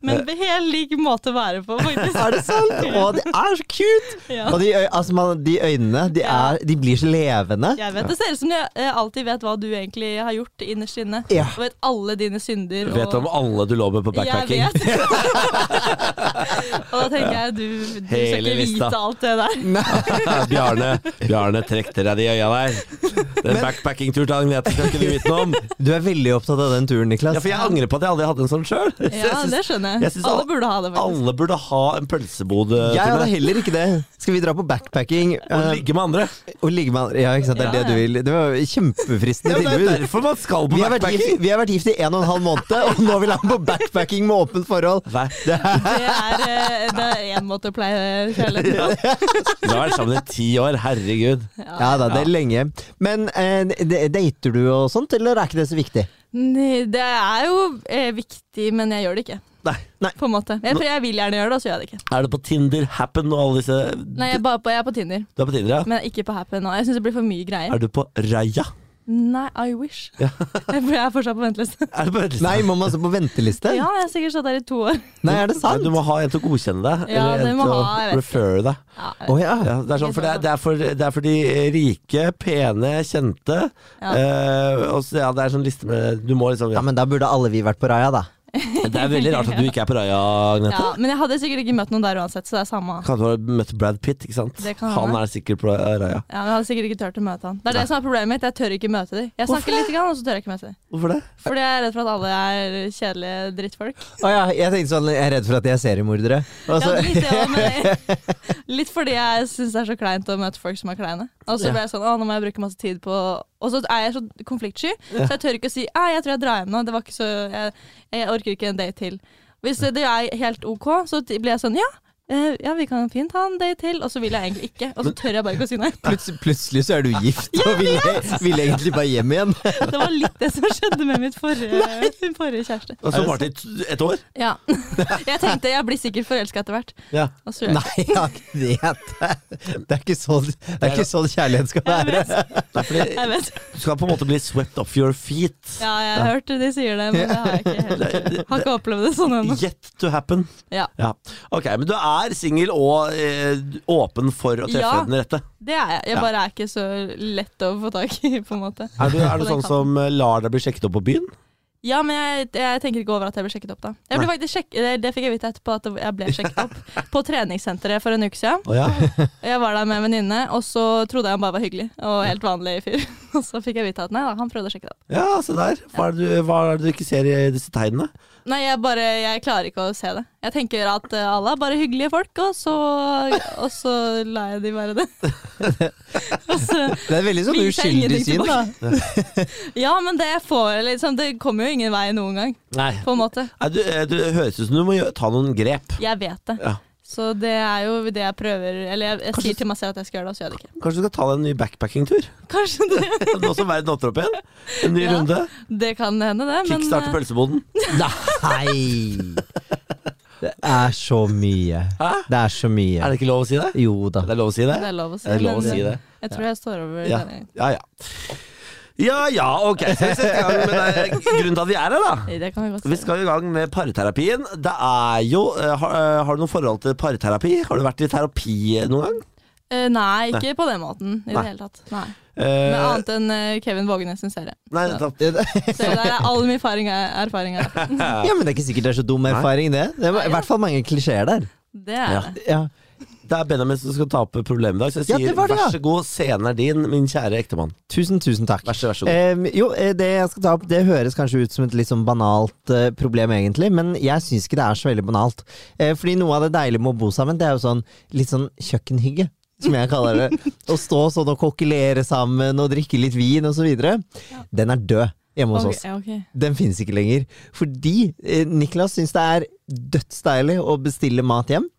E: Men på helt lik måte å være på, faktisk.
B: Er det sant? Å, det er så cute!
E: Ja.
B: Og de, øy- altså, man, de øynene, de, er, de blir så levende.
E: Jeg vet, Det ser ut som jeg eh, alltid vet hva du egentlig har gjort innerst inne.
B: Ja.
E: Og vet alle dine synder.
A: Vet du om
E: og...
A: alle du lå med på backpacking?
E: Jeg vet. og da tenker jeg du, du skal
A: Hele
E: ikke
A: lista.
E: vite alt det der.
A: Bjarne, Bjarne trekk til deg de øya der. Den backpacking-turen til Agnete skal ikke du vite noe om.
B: Du er veldig opptatt av den turen, Niklas.
A: Ja, for jeg angrer på at jeg aldri hadde en sånn sjøl.
E: Ja, det skjønner
A: jeg
E: jeg.
A: synes
E: Alle
A: al-
E: burde ha det, faktisk.
A: Alle burde ha en pølsebod eh,
B: Jeg
A: til
B: hadde
A: meg.
B: heller ikke det. Skal vi dra på backpacking
A: Og
B: eh,
A: ligge med andre.
B: og ligge med andre? Ja, ikke sant. Det er
E: Ja,
B: det du
E: ja.
B: vil. Det var
A: Ja,
B: kjempefristende
A: men det er
B: tilbud.
A: derfor man skal på
B: Vi har, vært
A: backpacking.
B: gift, vi har vært gift i en og en halv måned, og nå vil han på backpacking med åpent forhold.
A: Nei,
E: Det er, eh, det er én måte å pleie kjærligheten på.
A: vi har vært sammen i ti år, herregud.
B: Ja da, det er lenge. Men eh, d- dater du og sånt, eller er ikke det så viktig?
E: Nei, Det er jo eh, viktig, men jeg gjør det ikke.
A: Nei.
E: På en måte. Jeg, for jeg vil gjerne gjøre det, og så gjør jeg det ikke.
A: Er det på Tinder, Happen og alle disse
E: Nei, jeg er, bare på, jeg er på Tinder,
A: Du er på Tinder, ja?
E: men ikke på Happen nå. Jeg syns det blir for mye greier.
A: Er du på Raya?
E: Nei, I wish. For jeg er fortsatt på venteliste.
A: Er du på venteliste?
B: Nei, må man stå på venteliste?
E: Ja, jeg har sikkert stått der i to år.
B: Nei, er det
A: Nei,
B: sant?
A: du må ha en til å godkjenne deg.
E: Ja,
A: eller
E: det
A: en
E: må
A: til å
E: ha, jeg vet
A: referre deg.
E: Ja,
B: Å ja.
A: Ja, det, er sånn, for det, er, det, er for, det er for de eh, rike, pene, kjente.
E: Ja.
A: Eh, og så, ja, det er sånn liste med Du må liksom
B: ja.
A: ja.
B: Men da burde alle vi vært på Raja, da.
A: Det er veldig rart at du ikke er på Raja, Agnete.
E: Ja, men jeg hadde sikkert ikke møtt noen der uansett, så det er samme.
A: Kan du ha møtt Brad Pitt, ikke sant?
E: Det kan
A: han
E: hende.
A: er sikkert på Raja.
E: Ja, men Jeg hadde sikkert ikke turt å møte han. Det er det som er problemet mitt, jeg tør ikke møte dem. Jeg snakker litt, grann, og så tør jeg ikke møte dem.
A: Hvorfor det?
E: Fordi jeg er redd for at alle er kjedelige drittfolk.
B: Å ja, jeg tenkte sånn, jeg er redd for at de er seriemordere. Og
E: Ja,
B: så-
E: litt, det også, men jeg, litt fordi jeg syns det er så kleint å møte folk som er kleine. Og så ble jeg sånn, å nå må jeg bruke masse tid på Og så er jeg så konfliktsky, så jeg tør ikke å si «Ei, jeg tror jeg drar hjem nå. Det var ikke så, jeg, jeg orker ikke en date til. Hvis det er helt OK, så t- blir jeg sånn ja. eh, Ja, vi kan fint ha en date til, og så vil jeg egentlig ikke. Og så tør jeg bare ikke å si nei.
B: Plutselig, plutselig så er du gift og vil, vil egentlig bare hjem igjen.
E: Det var litt det som skjedde med mitt forrige, min forrige kjæreste.
A: Og så varte det t- et år?
E: Ja. Jeg tenkte jeg blir sikkert forelska etter hvert.
A: Ja.
E: Og så gjør jeg det.
B: Nei, jeg vet det. Det er ikke sånn, det er ikke sånn kjærlighet skal
E: Jeg
B: være.
E: vet,
A: Nei, fordi
E: jeg vet.
A: du skal på en måte bli swept off your feet.
E: Ja, jeg har hørt de sier det, men det har jeg ikke helt.
A: Det-
E: Har ikke opplevd det sånn ennå.
A: Yet to happen.
E: Ja,
A: Ja. Ok, men du er singel og eh, åpen for å treffe
E: Ja.
A: den rette.
E: det er jeg. Jeg bare er ikke så lett å få tak i, på en måte.
A: Er du, er du
E: På den
A: sånn som eh, lar deg bli sjekket opp på byen?
E: Ja, men jeg, jeg tenker ikke over at jeg ble sjekket opp, da. Jeg ble faktisk sjekk, det, det fikk jeg vite etterpå, at jeg ble sjekket opp på treningssenteret for en uke siden.
A: Å ja.
E: Jeg var der med en venninne, og så trodde jeg han bare var hyggelig og helt vanlig fyr. Og så fikk jeg vite at nei da, han prøvde å sjekke det opp.
A: ja, se der. Hva er, det du, hva er det du ikke ser i disse tegnene?
E: Nei, jeg bare Jeg klarer ikke å se det. Jeg tenker at eh, alle er bare hyggelige folk, og så, og så lar jeg de være det. og så
B: Det er veldig sånn
E: Blir seg
B: uskyldig
E: ingenting
B: syn, da.
E: Ja, men det får jeg liksom Det kommer jo ingen vei noen gang,
A: Nei.
E: på en måte.
A: Nei du, eh, du høres ut som du må gjø- ta noen grep.
E: Jeg vet det.
A: Ja.
E: Så det er jo det jeg prøver Eller jeg, jeg sier til meg selv at jeg skal gjøre det, og så gjør jeg det ikke.
A: Kanskje du skal ta deg en ny backpacking-tur?
E: Kanskje det
A: Nå som verden åpner opp igjen. En ny
E: Ja.
A: runde.
E: Det kan hende, det. Men
A: Kickstarte
E: eh,
A: pølseboden.
B: Nei! Det er så mye. Det er så
A: Er
B: mye.
A: det ikke lov å si det?
B: Jo da.
A: Det er lov å si det?
E: det er lov å si.
A: Det er lov å
E: men,
A: si
E: eh,
A: det.
E: Jeg tror jeg står over
A: Ja,
E: denne.
A: ja. ja. Ja ja, ok. Så vi setter i gang med det. grunnen til at vi er her, da.
E: Det kan vi godt
A: Vi
E: si.
A: skal i gang med parterapien. Det er jo eh, har, eh, har du noe forhold til parterapi? Har du vært i terapi noen gang?
E: Eh, nei, ikke på den måten i
A: Nei.
E: det hele tatt. Nei.
A: Eh,
E: Men annet enn eh, Kevin Vågenes sin serie.
A: nei, nettopp.
E: Så det er all min erfaring er, erfaring er derfra.
B: Ja, men det er ikke sikkert det er så dum erfaring, det. Det er i hvert fall mange klisjeer der.
E: Det er
A: Ja.
E: det.
B: Ja.
A: Det er Benjamin som skal ta opp problemet i dag, så jeg
B: Ja,
A: sier
B: det var det, ja.
A: vær så god, scenen er din, min kjære ektemann.
B: Tusen, tusen takk.
A: Vær så, vær så god.
B: Eh, jo, eh, det jeg skal ta opp, det høres kanskje ut som et litt sånn banalt eh, problem, egentlig, men jeg syns ikke det er så veldig banalt. Eh, fordi noe av det deilige med å bo sammen, det er jo sånn litt sånn kjøkkenhygge. Som jeg kaller det. Å stå sånn og kokkelere sammen og drikke litt vin osv. Den er død hjemme hos
E: Ok,
B: oss.
E: ja, ok.
B: Den finnes ikke lenger. Fordi eh, Niklas syns det er dødsdeilig å bestille mat hjem.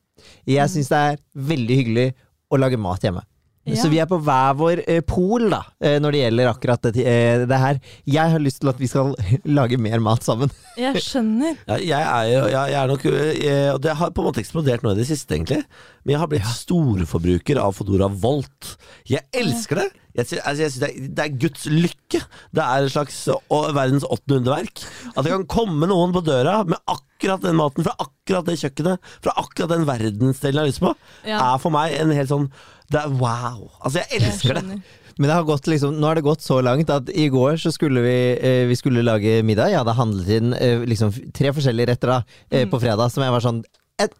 B: Jeg syns det er veldig hyggelig å lage mat hjemme.
E: Ja.
B: Så vi er på hver vår eh, pol da, eh, når det gjelder akkurat det, eh, det her. Jeg har lyst til at vi skal lage mer mat sammen.
E: Jeg skjønner.
A: Ja, jeg, er jo, jeg, jeg er nok eh, Og det har på en måte eksplodert nå i det siste, egentlig. Men jeg har blitt storforbruker av Fodora Volt. Jeg elsker det! Jeg, sy- altså, jeg synes det, er, det er Guds lykke. Det er et slags å- verdens åttende underverk. At det kan komme noen på døra med akkurat den maten fra akkurat det kjøkkenet, fra akkurat den verdensdelen jeg har lyst på,
E: Ja.
A: er for meg en helt sånn det er wow! Altså, jeg
E: Jeg
A: elsker det.
E: skjønner.
B: Men det har gått liksom, nå har det gått så langt at i går så skulle vi, eh, vi skulle lage middag. Jeg hadde handlet inn eh, liksom f- tre forskjellige retter da, eh, på fredag, som jeg var sånn et,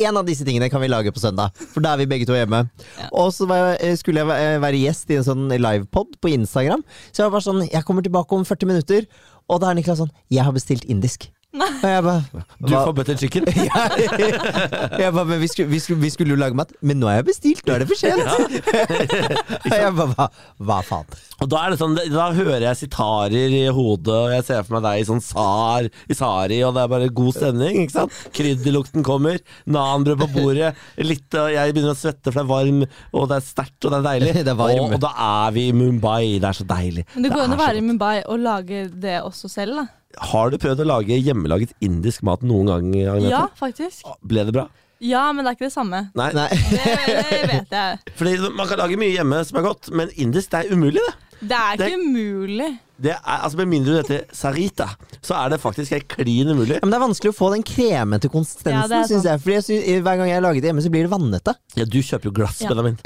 B: En av disse tingene kan vi lage på søndag, for da er vi begge to hjemme. Og så var jeg, eh, skulle jeg væ- eh, være gjest i en sånn livepod på Instagram. Så jeg var bare sånn Jeg kommer tilbake om 40 minutter, og da er Niklas sånn Jeg har bestilt indisk. Og jeg bare
A: Du
B: hva-
A: får butter chicken.
B: ja, jeg bare, men vi skulle, vi, skulle, vi skulle jo lage mat, men nå har jeg bestilt, nå er det for sent. Og jeg bare, hva, hva faen?
A: Og da, er det sånn, da hører jeg sitarer i hodet, og jeg ser for meg deg i sånn sar, i sari, og det er bare god stemning. ikke sant? Krydderlukten kommer, nanbrød på bordet, litt, og jeg begynner å svette, for det er varm, og det er sterkt, og det er deilig.
B: Det er varm.
A: Og, og da er vi i Mumbai, det er så deilig.
E: Men det går
A: er
E: an å
A: så
E: være i
A: godt.
E: Mumbai og lage det også selv, da.
A: Har du prøvd å lage hjemmelaget indisk mat noen gang, Agnete?
E: Ja, faktisk.
A: Ble det bra?
E: Ja, men det er ikke det samme.
A: Nei.
B: Nei.
E: Det, det vet jeg.
A: Fordi man kan lage mye hjemme som er godt, men indisk det er umulig, det.
E: Det er ikke umulig.
A: det er, altså Med mindre du heter Sarita, så er det faktisk helt klin umulig.
B: Ja, men det er vanskelig å få den kremete
E: Ja,
B: konsistensen,
E: det er
B: synes jeg. Fordi jeg synes, hver gang jeg lager det hjemme, så blir det vannete.
A: Ja, du kjøper jo glass,
E: Ja.
A: Benjamin.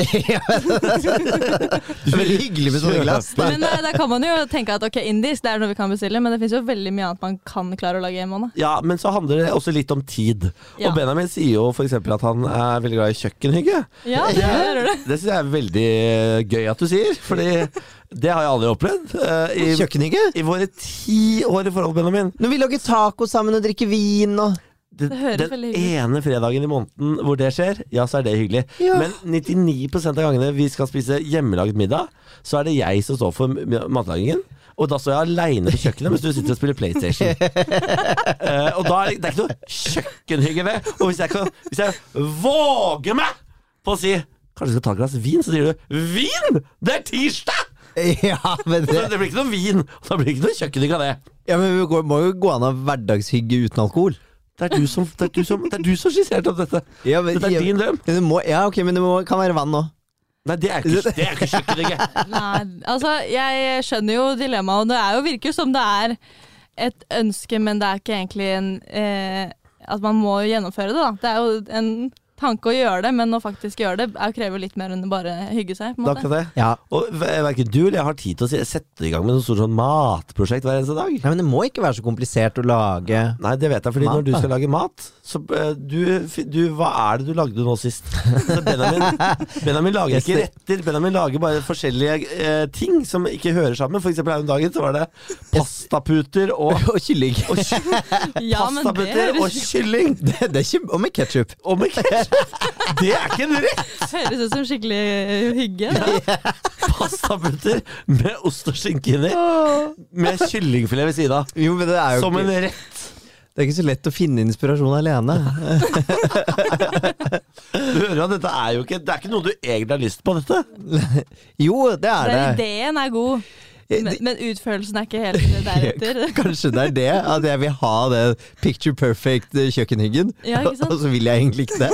B: Det er veldig hyggelig med sånne glass.
E: Men eh, da kan man jo tenke at ok, indisk det er noe vi kan bestille, men det fins jo veldig mye annet man kan klare å lage hjemme òg, da.
A: Ja, men så handler det også litt om tid.
E: Ja.
A: Og Benjamin sier jo f.eks. at han er veldig glad i kjøkkenhygge.
E: Ja, det hører du.
A: Det syns jeg er veldig eh, gøy at du sier, Fordi det har jeg aldri opplevd. eh, I,
B: Kjøkkenhygge?
A: I våre ti år i forhold, Benjamin.
B: Når vi lager taco sammen og drikker vin og
A: Det,
E: Det høres
A: den
E: veldig hyggelig
A: ene fredagen i måneden hvor det skjer, ja, så er det hyggelig.
B: Ja.
A: Men 99 av gangene vi skal spise hjemmelagd middag, så er det jeg som står for m- matlagingen. Og da står jeg aleine på kjøkkenet mens du sitter og spiller PlayStation. Eh, og da er det, det er ikke noe kjøkkenhygge ved. Og hvis jeg, kan, hvis jeg våger meg på å si Kanskje du skal ta et glass vin? Så sier du 'Vin! Det er tirsdag!'
B: Ja, men
A: Så
B: det
A: det blir ikke noe vin. Og da blir det ikke noe kjøkkenhygge av det.
B: ja, men vi går, må jo gå an å ha hverdagshygge uten alkohol.
A: Det er du som, det er du som, det er du som skisserte opp dette.
B: Ja, men,
A: Dette er din drøm.
B: Ja, det må, ja ok, men det må, kan være vann òg.
A: Nei, det er ikke, det er ikke kjøkkenhygge.
E: Nei, altså jeg skjønner jo dilemmaet, og det er jo virker som det er et ønske, men det er ikke egentlig en eh, At man må gjennomføre det, da. Det er jo en tanke å gjøre det, men å faktisk gjøre det er, krever litt mer enn bare hygge seg. på en
A: Det er
E: måte.
A: akkurat det.
B: Ja.
A: Og ver- verken du eller jeg har tid til å se- sette i gang med noe stort sånn matprosjekt hver eneste dag.
B: Nei, men det må ikke være så komplisert å lage
A: Nei, det vet jeg, fordi
B: Mat,
A: når du
B: da.
A: skal lage mat, så eh, du, fi- du Hva er det du lagde nå sist? Så Benjamin, Benjamin lager ikke retter, Benjamin lager bare forskjellige eh, ting som ikke hører sammen. For eksempel her om dagen så var det pastaputer og,
B: Og kylling.
A: og ky-
E: Ja, men det
A: pastaputer og
E: høres,
A: kylling.
B: Det, det er ikke, og med ketsjup.
A: Og med ketchup! Det er ikke en rett!
E: høres ut som skikkelig eh, hygge. Det.
A: Pastaputer med ost og skinke inni, med kyllingfilet ved siden av.
B: Jo, men det er jo
A: Som en
B: ikke,
A: rett.
B: det er ikke så lett å finne inspirasjon alene.
A: Du hører jo at dette er jo ikke Det er ikke noe du egentlig har lyst på, dette.
B: Jo, det er
E: Den
B: det.
E: ideen er god, men, men utførelsen er ikke helt eh, deretter.
B: Kanskje det er det at jeg vil ha den picture perfect eh, kjøkkenhyggen,
E: Ja, ikke sant?
B: og så vil jeg egentlig ikke det.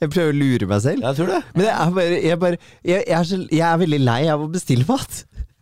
B: Jeg prøver å lure meg selv.
A: Jeg tror det.
B: Men jeg er, bare, jeg, er bare, jeg, jeg, er så, jeg er veldig lei av å bestille mat.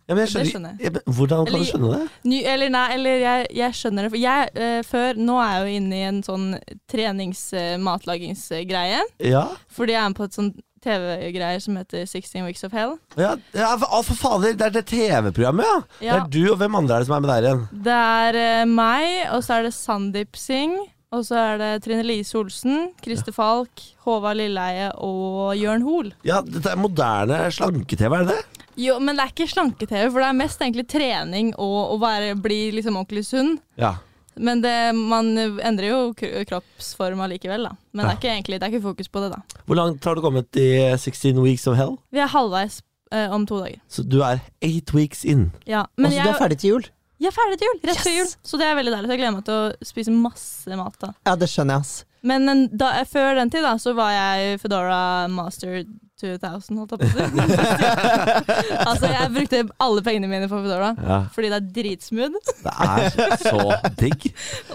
A: Ja, men jeg
E: Det
A: skjønner,
E: skjønner jeg.
A: Ja, men hvordan kan du
E: Eller-
A: skjønne det?
E: Ny, eller nei, eller jeg, jeg skjønner det. For jeg, eh, før, nå er jeg jo inne i en sånn trenings-matlagingsgreie.
A: Ja,
E: fordi jeg er med på et sånn TV-greier som heter 16 Weeks of Hell.
A: ja, ja for, å, for fader, det er det TV-programmet, ja. Det
E: Ja.
A: er du og hvem andre er det som er med der igjen?
E: Det er eh, meg, og så er det Sandeep Singh, og så er det Trine Lise Olsen, Christer Falk, Håvard Lilleheie og Jørn Hoel.
A: Ja, Dette er moderne slanke-TV, er det det?
E: Jo, men det er ikke slanke-TV, for det er mest egentlig trening og å være, bli liksom ordentlig sunn.
A: Ja.
E: Men det, man endrer jo kro- kroppsform allikevel, da. Men det er ikke egentlig, det er ikke fokus på det, da.
A: Hvor langt har du kommet i 16 Weeks of Hell?
E: Vi er halvveis eh, om to dager.
A: Så du er eight weeks in.
E: Ja,
B: Altså,
E: men
B: du er
E: jeg,
B: ferdig til jul.
E: jeg er ferdig til jul, rett før jul. Så det er veldig deilig. Så jeg gleder meg til å spise masse mat da.
B: Ja, det skjønner jeg, ass.
E: Men en, da, eh, før den tid da, så var jeg Fedora Master 2000, holdt jeg på å si. altså, jeg brukte alle pengene mine på Fedora.
A: Ja.
E: Fordi det er dritsmooth,
A: Det er så digg.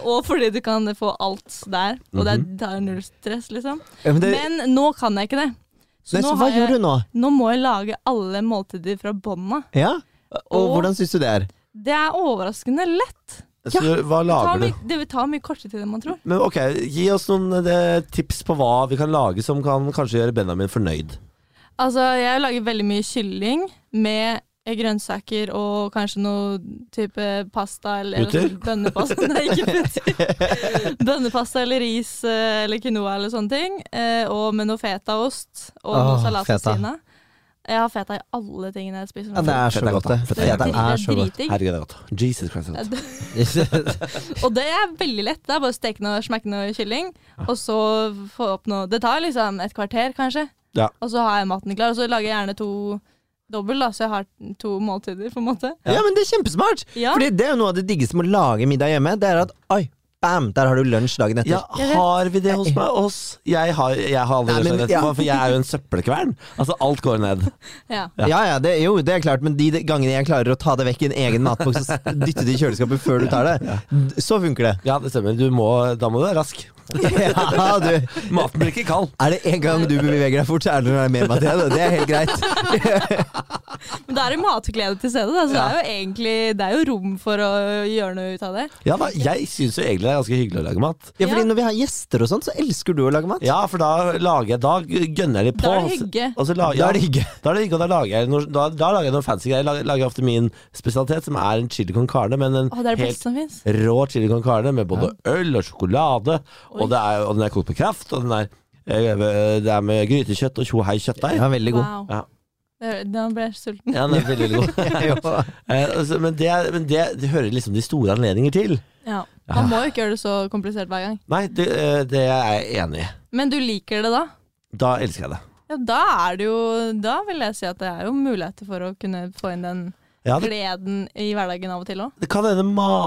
E: og fordi du kan få alt der. Og det er, det er null stress, liksom.
B: Ja, men Mhm. det,
E: Men nå kan jeg ikke det. Så
B: nei,
E: nå,
B: så
E: har
B: hva gjør
E: jeg,
B: du nå?
E: nå må jeg lage alle måltider fra bånna.
B: Ja? Og
E: Og-
B: hvordan syns du det er?
E: Det er overraskende lett.
A: Så hva
E: Det tar,
A: lager du?
E: mye, det tar mye kortere tid enn man tror.
A: Men ok, Gi oss noen eh, tips på hva vi kan lage som kan kanskje gjøre Benjamin fornøyd.
E: Altså, jeg lager veldig mye kylling med grønnsaker og kanskje noe type pasta eller
A: Putter?
E: eller bønnepasta. Nei, ikke putter. bønnepasta eller ris eh, eller quinoa eller sånne ting. eh, Og med noe fetaost og noe
B: Åh,
E: salat ved
B: feta.
E: siden av. Jeg har feta i alle tingene jeg spiser.
B: Ja, det er så
A: Fett er
B: godt,
A: godt, da.
B: det.
A: Fett
E: Det
A: er
E: er
B: Feta
E: drit-
B: er så godt.
E: det er dritdigg.
A: Herregud, det er godt. Jesus Christ. det er godt.
E: Og det er veldig lett. Det er bare å steke noe, smekke noe kylling, og så få opp noe Det tar liksom et kvarter, kanskje.
A: Ja.
E: Og så har jeg maten klar. Og så lager jeg gjerne to dobbel, da, så jeg har to måltider, på en måte.
B: Ja, men det er kjempesmart!
E: Ja.
B: Fordi det er jo noe av det diggeste med å lage middag hjemme. Det er at oi, bam, der har du lunsj dagen etter.
A: Ja, har vi det hos meg? Oss? Jeg har, jeg har aldri
B: Nei, men-
A: løsnet dette,
B: ja.
A: for jeg er jo en søppelkvern. Altså, alt går ned.
E: Ja.
B: Ja, ja, det, jo, det er klart, men de gangene jeg klarer å ta det vekk i en egen matboks og s- dytte det i kjøleskapet før du tar det, d- så funker det.
A: Ja, det stemmer. Du må, da må du være rask.
B: Ja, du. Er
A: Maten blir ikke kald.
B: det en gang du beveger deg fort, så er det når det er mer mat igjen. og Det er helt greit.
E: Men da er det matglede til stede, da, så det er jo egentlig det er jo rom for å gjøre noe ut av det.
A: Ja da, jeg syns jo egentlig det er ganske hyggelig å lage mat.
B: Ja, fordi
E: Ja.
B: når vi har gjester og sånn, så elsker du å lage mat.
A: Ja, for da lager jeg Da gønner jeg litt på.
E: Da er det hygge.
A: Og så la-
B: Da er det hygge.
A: Da er det hygge, og da lager jeg noe, da, da lager jeg noen fancy greier. Jeg lager, lager ofte min spesialitet, som er en chili con carne, men en
E: Å, det er det
A: helt
E: beste som fins.
A: rå chili con carne med både øl og sjokolade,
E: Oi.
A: og, det er, og den er kokt på kraft, og den er, eh, det er med grytekjøtt og tjohei kjøttdeig.
B: Ja, veldig god.
E: Wow.
A: Ja.
E: Det- Da ble jeg sulten.
A: Ja, den er veldig, veldig god.
B: Ja.
A: Eh, altså, men det, men det, det hører liksom de store anledninger til.
E: Ja. Man må jo ikke gjøre det så komplisert hver gang.
A: Nei, det, eh, det er jeg enig i.
E: Men du liker det da?
A: Da elsker jeg det.
E: Ja, da er det jo Da vil jeg si at det er jo muligheter for å kunne få inn den
A: Ja, det,
E: gleden i hverdagen av og til òg.
A: det kan hende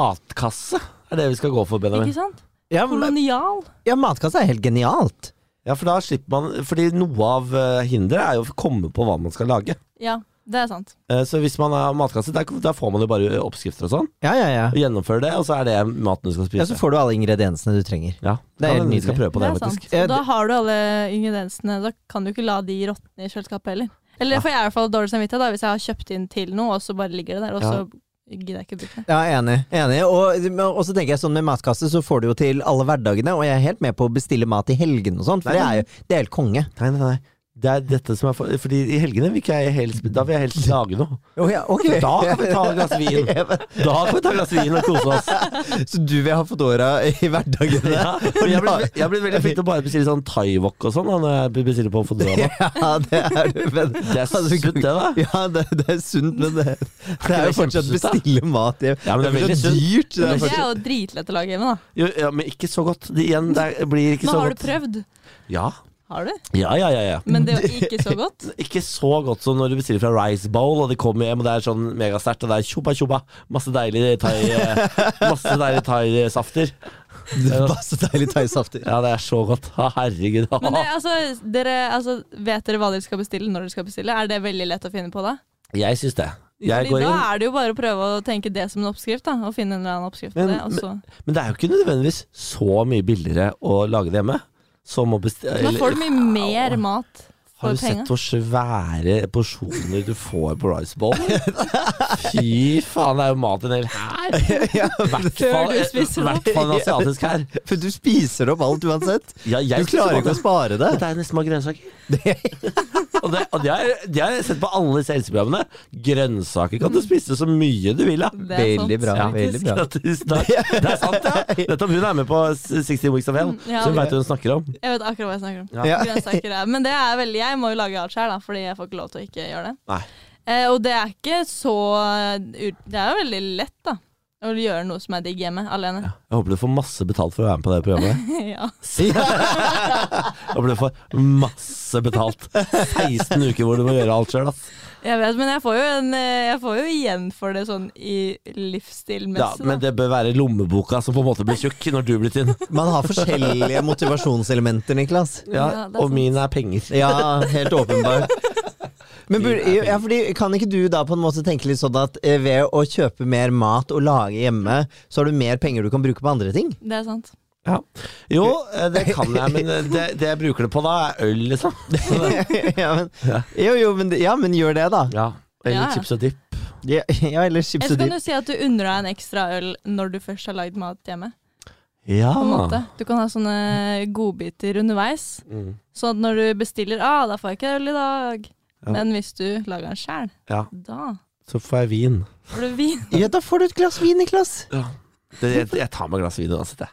A: matkasse er det vi skal gå for, Benjamin.
E: Ikke sant?
B: Ja, men-
E: Kolonial.
B: ja, matkasse er helt genialt.
A: Ja, for da slipper man Fordi noe av eh, hinderet er jo å komme på hva man skal lage.
E: Ja, det er sant.
A: Eh, Så hvis man har matkasse, der, der får man jo bare oppskrifter og sånn.
B: Ja, ja, ja.
A: Og gjennomfører det, og så er det maten du skal
B: Ja,
A: spise.
B: Så får du alle ingrediensene du trenger.
A: Ja,
B: Det er
A: kan hende
B: helt
A: vi skal
B: nydelig.
A: prøve på det,
E: er sant.
A: faktisk.
B: Ja,
E: Og da har du alle ingrediensene. Da kan du ikke la de råtne i kjøleskapet heller. Eller får jeg i hvert fall dårlig samvittighet da, hvis jeg har kjøpt inn til noe, og så bare ligger det der, og så gidder jeg ikke bruke det.
B: Ja, enig. enig. Og, og så tenker jeg sånn med matkasse, så får du jo til alle hverdagene, og jeg er helt med på å bestille mat i helgene og sånn, for det er jo det er helt konge.
A: Nei, nei, nei. Det er dette som er for, Fordi i helgene vil ikke jeg helst Da vil jeg helst lage noe.
B: Å ja, ok.
A: Da kan vi ta et glass vin. Da kan vi ta et glass vin og kose oss.
B: Så du vil ha fodora i hverdagene?
A: Ja, for jeg har blitt- jeg har blitt veldig flink til å bare bestille sånn thaiwok og sånn da, når jeg bestiller på Fodora.
B: Ja, det er du, men
A: Det er sunt, det, da.
B: Ja, det, det er sunt, men det, det er jo
A: det
B: fortsatt
A: kjempesunt, da?
B: bestille mat i
A: Ja, men det er veldig
B: så
A: sunt.
B: dyrt. Det er
E: Det
B: fortsatt.
E: er jo dritlett å lage hjemme, da.
A: Jo, ja, men ikke så godt. Det, igjen, det blir ikke
E: Men
A: så
E: har du
A: godt.
E: prøvd?
A: Ja,
E: Har du?
A: ja, ja, ja, ja.
E: Men det var ikke så godt.
A: Ikke så godt som når du bestiller fra Rice Bowl, og de kommer hjem, og det er sånn megasterkt, og det er tjobba tjobba. Masse deilig thai eh, Masse deilig thaisafter.
B: Det er masse deilig thaisafter.
A: Ja, det er så godt. Ha, herregud. Ha,
E: Men det,
A: ha.
E: altså, dere, altså, vet dere hva dere skal bestille når dere skal bestille? Er det veldig lett å finne på da?
A: Jeg syns det. Jeg
E: Fordi
A: går
E: da
A: inn,
E: er det jo bare å prøve å tenke det som en oppskrift, da. Og finne en eller annen oppskrift på
A: Men-
E: det. Og så.
A: men det er jo ikke nødvendigvis så mye billigere å lage det hjemme. Som å bestille
E: Da får du mye mer mat
A: Har
E: for
A: du sett
E: penga.
A: hvor svære porsjoner du får på Rice Bowl? Fy faen, det er jo mat en hel her.
E: Før du spiser det.
A: hvert fall en asiatisk her.
B: For du spiser opp alt uansett.
A: Ja, jeg
B: Du klarer
A: spiser
B: ikke å spare det.
A: Men det er nesten bare grønnsaker. og det, og det, har, jeg- det har jeg sett på alle disse helseprogrammene. Grønnsaker kan du spise så mye du vil av.
E: Det er sant.
B: Veldig bra.
A: Ja.
B: veldig
A: Ja,
B: bra.
A: tusen takk. Det er sant, ja. Nettopp hun er med på 60 Weeks of Hell,
E: Mm, ja.
A: så hun veit hva hun snakker om.
E: Jeg vet akkurat hva jeg snakker om.
B: Ja.
E: Grønnsaker er Men det er veldig Jeg må jo lage alt sjøl, fordi jeg får ikke lov til å ikke gjøre det.
A: Nei.
E: Eh, og det er ikke så eh, ut- Det er jo veldig lett, da. Å gjøre noe som er digg hjemme, alene.
A: Jeg håper du får masse betalt for å være med på det programmet.
E: Ja.
A: Jeg håper du får masse betalt. 16 uker hvor du må gjøre alt sjøl, ass.
E: Jeg vet, men jeg får, jo en, eh, jeg får jo igjen for det sånn i
A: Ja,
E: livsstilmessig. da.
A: men det bør være lommeboka som på en måte blir tjukk når du blir tynn.
B: Man har forskjellige motivasjonselementer, Niklas.
A: Ja,
E: Ja, det er
A: og
E: sant.
A: min er penger.
B: Ja, helt åpenbart. Men burde, ja, fordi, kan ikke du da på en måte tenke litt sånn at eh, ved å kjøpe mer mat og lage hjemme, så har du mer penger du kan bruke på andre ting?
E: det er sant.
A: Ja. Jo, eh, det kan jeg, men eh, det, det jeg bruker det på da, er øl, liksom.
B: ja, men, jo, jo, men, ja, men gjør det, da.
A: Ja, eller
E: Ja, ja.
A: chips og dip.
B: Ja, ja eller chips
E: Eller så
B: og
E: kan
B: dip.
E: du si at du unner deg en ekstra øl når du først har lagd mat hjemme.
A: Ja.
E: På
A: Ah.
E: en måte. Du kan ha sånne godbiter underveis.
A: Mm.
E: Sånn at når du bestiller ah, da får jeg ikke øl i dag.
A: Ja.
E: Men hvis du lager den sjæl,
A: Ja.
E: da
A: Så får jeg vin.
E: får du vin.
B: Ja, da får du et glass vin, Niklas.
A: Det, jeg, jeg tar meg et glass vin uansett, jeg.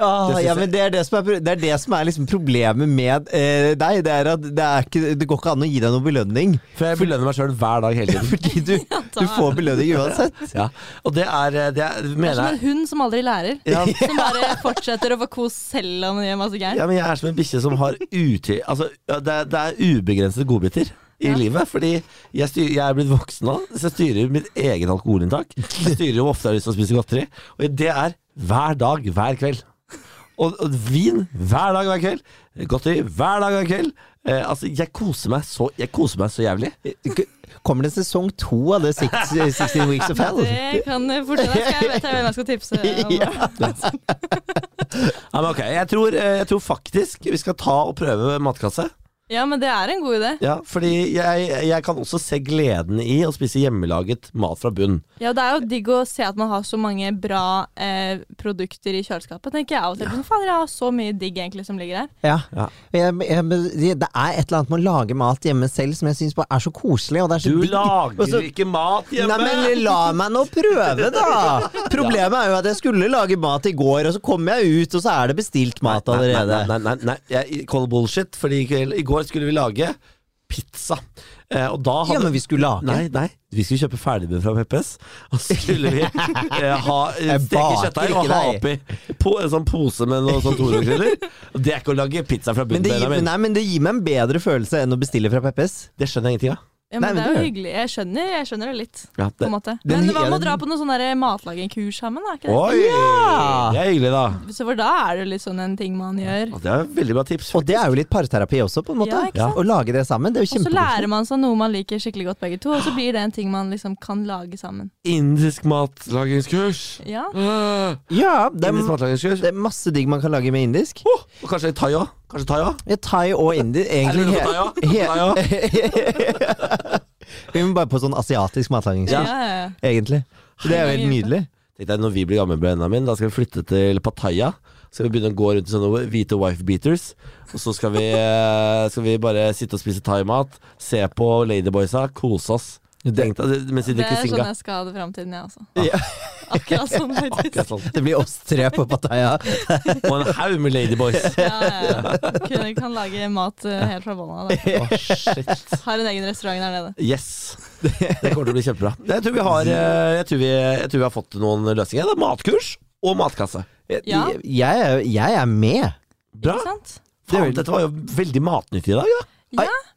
B: Ah,
A: Det synes
B: ja,
A: jeg-
B: men det er det som er, pro- det er, det som er liksom problemet med eh, deg. Det er at det, er ikke, det går ikke an å gi deg noen belønning.
A: For jeg belønner meg sjøl hver dag hele tiden.
B: Fordi du, du får belønning uansett.
A: Ja. Og det er eh, Det er,
E: Det er
A: mener
E: som en
A: jeg
E: hund som aldri lærer.
A: ja,
E: Som bare fortsetter å få kos selv om den gjør masse
A: ja,
E: gærent.
A: men jeg er som en bikkje som har uti... Altså, ja, det, er- det er ubegrensede godbiter i
E: Ja.
A: livet. Fordi jeg, styr, jeg er blitt voksen nå, så jeg styrer mitt eget alkoholinntak. Jeg styrer jo ofte jeg har lyst til å spise godteri. Og det er hver dag, hver kveld. Og, og vin hver dag hver kveld. Godteri hver dag hver kveld. Eh, altså, jeg koser meg så, jeg koser meg så jævlig.
B: Kommer det sesong to av det six- 16 Weeks of Hell?
E: Det kan fort skje. Da skal jeg vite hvem jeg skal tipse om.
A: Ja, men ok, jeg tror, eh, jeg tror faktisk vi skal ta og prøve matkasse.
E: Ja, men det er en god idé.
A: Ja, fordi jeg, jeg kan også se gleden i å spise hjemmelaget mat fra bunn.
E: Ja, Det er jo digg å se at man har så mange bra eh, produkter i kjøleskapet. tenker jeg av og til. Sånn, Fader, jeg har så mye digg egentlig som ligger der.
B: Ja.
A: Ja.
B: Jeg, jeg, det er et eller annet med å lage mat hjemme selv som jeg syns er så koselig. Og det er så
A: Du
B: digg. Og så-
A: lager ikke mat hjemme!
B: Nei, men la meg nå prøve, da! Problemet er jo at jeg skulle lage mat i går, og så kom jeg ut, og så er det bestilt mat allerede.
A: Nei, nei, nei, nei, nei. jeg call bullshit, Fordi i kveld- i går skulle vi lage pizza. Eh, og da hadde
B: Ja, men vi skulle lage.
A: Nei, nei, vi skulle kjøpe ferdigbrød fra Peppes. Og så skulle vi eh, ha eh,
B: Jeg
A: steke
B: baker
A: kjøttdeig og
B: ikke
A: ha
B: deg.
A: oppi po, en sånn pose med noen sånn Toro-krydder. Og Det er ikke å lage pizza fra
B: Men
A: bunnen,
B: det, gir,
A: Benjamin.
B: nei, men det gir meg en bedre følelse enn å bestille fra Peppes.
A: Det skjønner jeg ingenting av.
E: Ja,
B: Nei, men
E: men Det er
B: det
E: jo
B: er-
E: hyggelig. Jeg skjønner, jeg skjønner det litt.
A: Ja,
E: på
A: det-
E: en måte.
B: den
E: Men hva
B: hy-
E: med å
B: den-
E: dra på noe sånn der matlagingkurs sammen? da? Er ikke det?
A: Oi!
B: Ja!
A: Det er hyggelig, da.
E: Så for da er det jo litt sånn en ting man gjør.
A: Og det er et veldig bra tips.
B: Og det er jo litt parterapi også, på en måte.
E: Ja, ikke sant?
B: Å lage det sammen. Det er jo
E: Og så lærer
B: kjempekoselig.
E: man seg noe man liker skikkelig godt begge to, og så blir det en ting man liksom kan lage sammen.
A: Indisk matlagingskurs.
E: Ja,
C: Eh,
B: Ja, det
A: Indisk
B: er,
A: matlagingskurs.
B: det er masse digg man kan lage med indisk.
A: Åh, og kanskje thai òg. Kanskje thai òg.
B: Ja, thai og indisk, egentlig.
A: Er det noe på
B: he-
A: thai også?
B: he- Vi må bare på sånn asiatisk
E: ja,
B: matlagingskurs,
E: ja. ja.
B: egentlig. Det er jo helt nydelig.
A: Tenkte jeg, når vi blir gamle, Benjamin, da skal vi flytte til Pattaya. Så skal vi begynne å gå rundt i sånne hvite wife beaters. Og så skal vi, eh, skal vi bare sitte og spise thaimat, se på Ladyboysa, kose oss. Tenkte, jeg, mens vi
E: Det
A: drikker
E: er sånn
A: singa.
E: jeg skal ha det i framtiden, jeg også.
B: Ja.
E: altså. Akkurat sånn, faktisk.
A: Akkurat sånn.
B: Det blir oss tre på Pattaya.
A: Og en haug med Ladyboys.
E: Ja, ja. ja. Kunne, kan lage mat eh, helt fra bånn av. da.
A: Åh, shit.
E: Har en egen restaurant der nede.
A: Yes. Det kommer til å bli kjempebra. Jeg tror vi har, eh, jeg tror vi, jeg tror vi har fått noen løsninger. Det er matkurs og matkasse.
E: Ja.
B: Jeg, er- jeg er med.
A: Bra.
E: Ikke sant?
A: Faen, dette var jo veldig matnyttig i dag, da.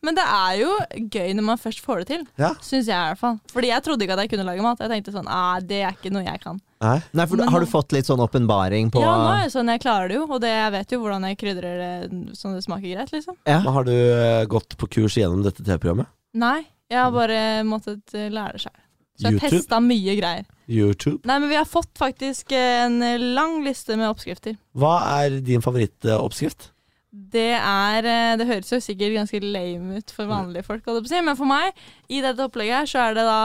E: Men det er jo gøy når man først får det til,
A: Ja.
E: syns jeg i hvert fall. Fordi jeg trodde ikke at jeg kunne lage mat. Jeg tenkte sånn, ah, det er ikke noe jeg kan.
A: Nei.
B: Nei, for
E: Men-
B: Har du fått litt sånn åpenbaring på
E: Ja, nå er det sånn, jeg klarer det jo, og det, jeg vet jo hvordan jeg krydrer det sånn det smaker greit, liksom.
B: Ja.
A: Men har du eh, gått på kurs gjennom dette TV-programmet?
E: Nei, jeg har bare måttet eh, lære det sjøl. Så jeg
A: YouTube?
E: testa mye greier.
A: YouTube?
E: Nei, men vi har fått faktisk eh, en lang liste med oppskrifter.
A: Hva er din favorittoppskrift?
E: Det er eh, Det høres jo sikkert ganske lame ut for vanlige folk, holdt jeg på å si, men for meg, i dette opplegget her, så er det da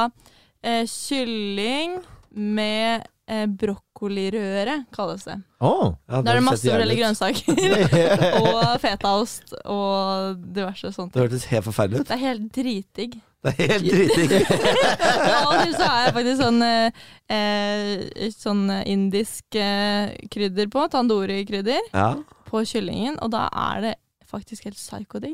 E: eh, kylling med eh, brokkolirøre, kalles det.
B: Åh.
A: Ja,
E: Da er det
A: den
E: masse
A: setter jeg
E: forskjellige
A: ut.
E: grønnsaker. og fetaost og diverse sånt.
A: Det hørtes helt forferdelig ut.
E: Det er helt dritdigg.
A: Det er helt dritig.
E: Av og til så er jeg faktisk sånn, eh, eh, sånn indisk eh, krydder på, tandori-krydder,
A: ja,
E: på kyllingen, og da er det faktisk helt psykodigg.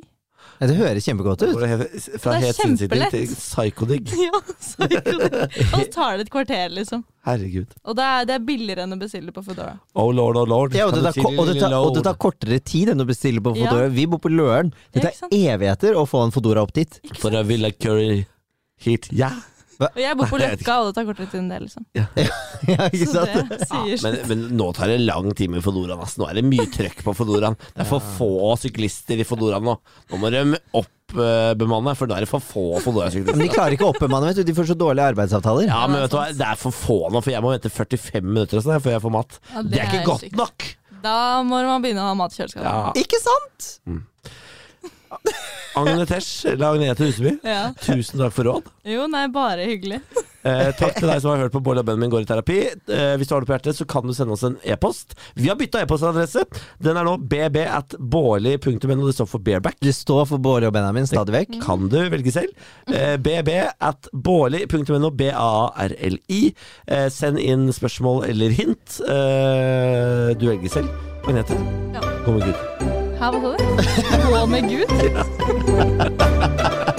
B: Ja, Det høres kjempegodt
A: det
B: ut.
A: går helt, fra
E: Det er
A: helt sinnssydig
E: kjempelett.
A: til psykodigg.
E: ja, psykodigg. Og så tar det et kvarter, liksom.
A: Herregud.
E: Og det er, det er billigere enn å bestille på Foodora.
A: Oh lord, oh lord.
B: Ja, og, det
A: Kan
B: tar, ko- og, det tar, og det tar kortere tid enn å bestille på
E: Ja.
B: Fodora. Vi bor på Løren. Det
E: Ja, ikke
B: tar evigheter å få en Fodora opp dit.
A: til- For jeg vil ha curry hit. Ja!
E: Og jeg bor på Løkka, og det tar kortere tid enn det, liksom.
B: Ja, ikke
E: Så
B: sant?
E: det sier
A: Ah, Men, men nå tar det lang tid med Fedoraen. ass. Nå er det mye trøkk på Fedoraen. Det er for få syklister i Fedoraen nå. Nå må de oppbemanne, for nå er det for få Fedora-syklister.
B: Men de klarer ikke å oppbemanne, vet du. De får så dårlige arbeidsavtaler.
A: Ja, men vet du hva, det er for få nå, for jeg må vente 45 minutter og sånn her før jeg får mat.
E: Ja,
A: det,
E: det
A: er ikke
E: er
A: godt
E: sykt.
A: nok!
E: Da må man begynne å ha mat i kjøleskapet.
B: Ikke sant?
A: Agne Tesh eller Agnete Huseby,
E: Ja.
A: tusen takk for råd.
E: Jo, nei, bare hyggelig.
A: Eh, takk til deg som har hørt på Bård og Benjamin går i terapi. Eh, hvis du har det på hjertet, så kan du sende oss en e-post. Vi har bytta e-postadresse. Den er nå bb at bårli.no. Det står for bareback.
B: Det står for Båre og Benjamin stadig vekk.
A: Kan du velge selv? Eh, bb at bårli.no. B-a-r-l-i. Eh, send inn spørsmål eller hint. Eh, du velger selv. Agnete,
E: Ja.
A: kom med Gud.
E: Her, hva sa du? Gå med Gud?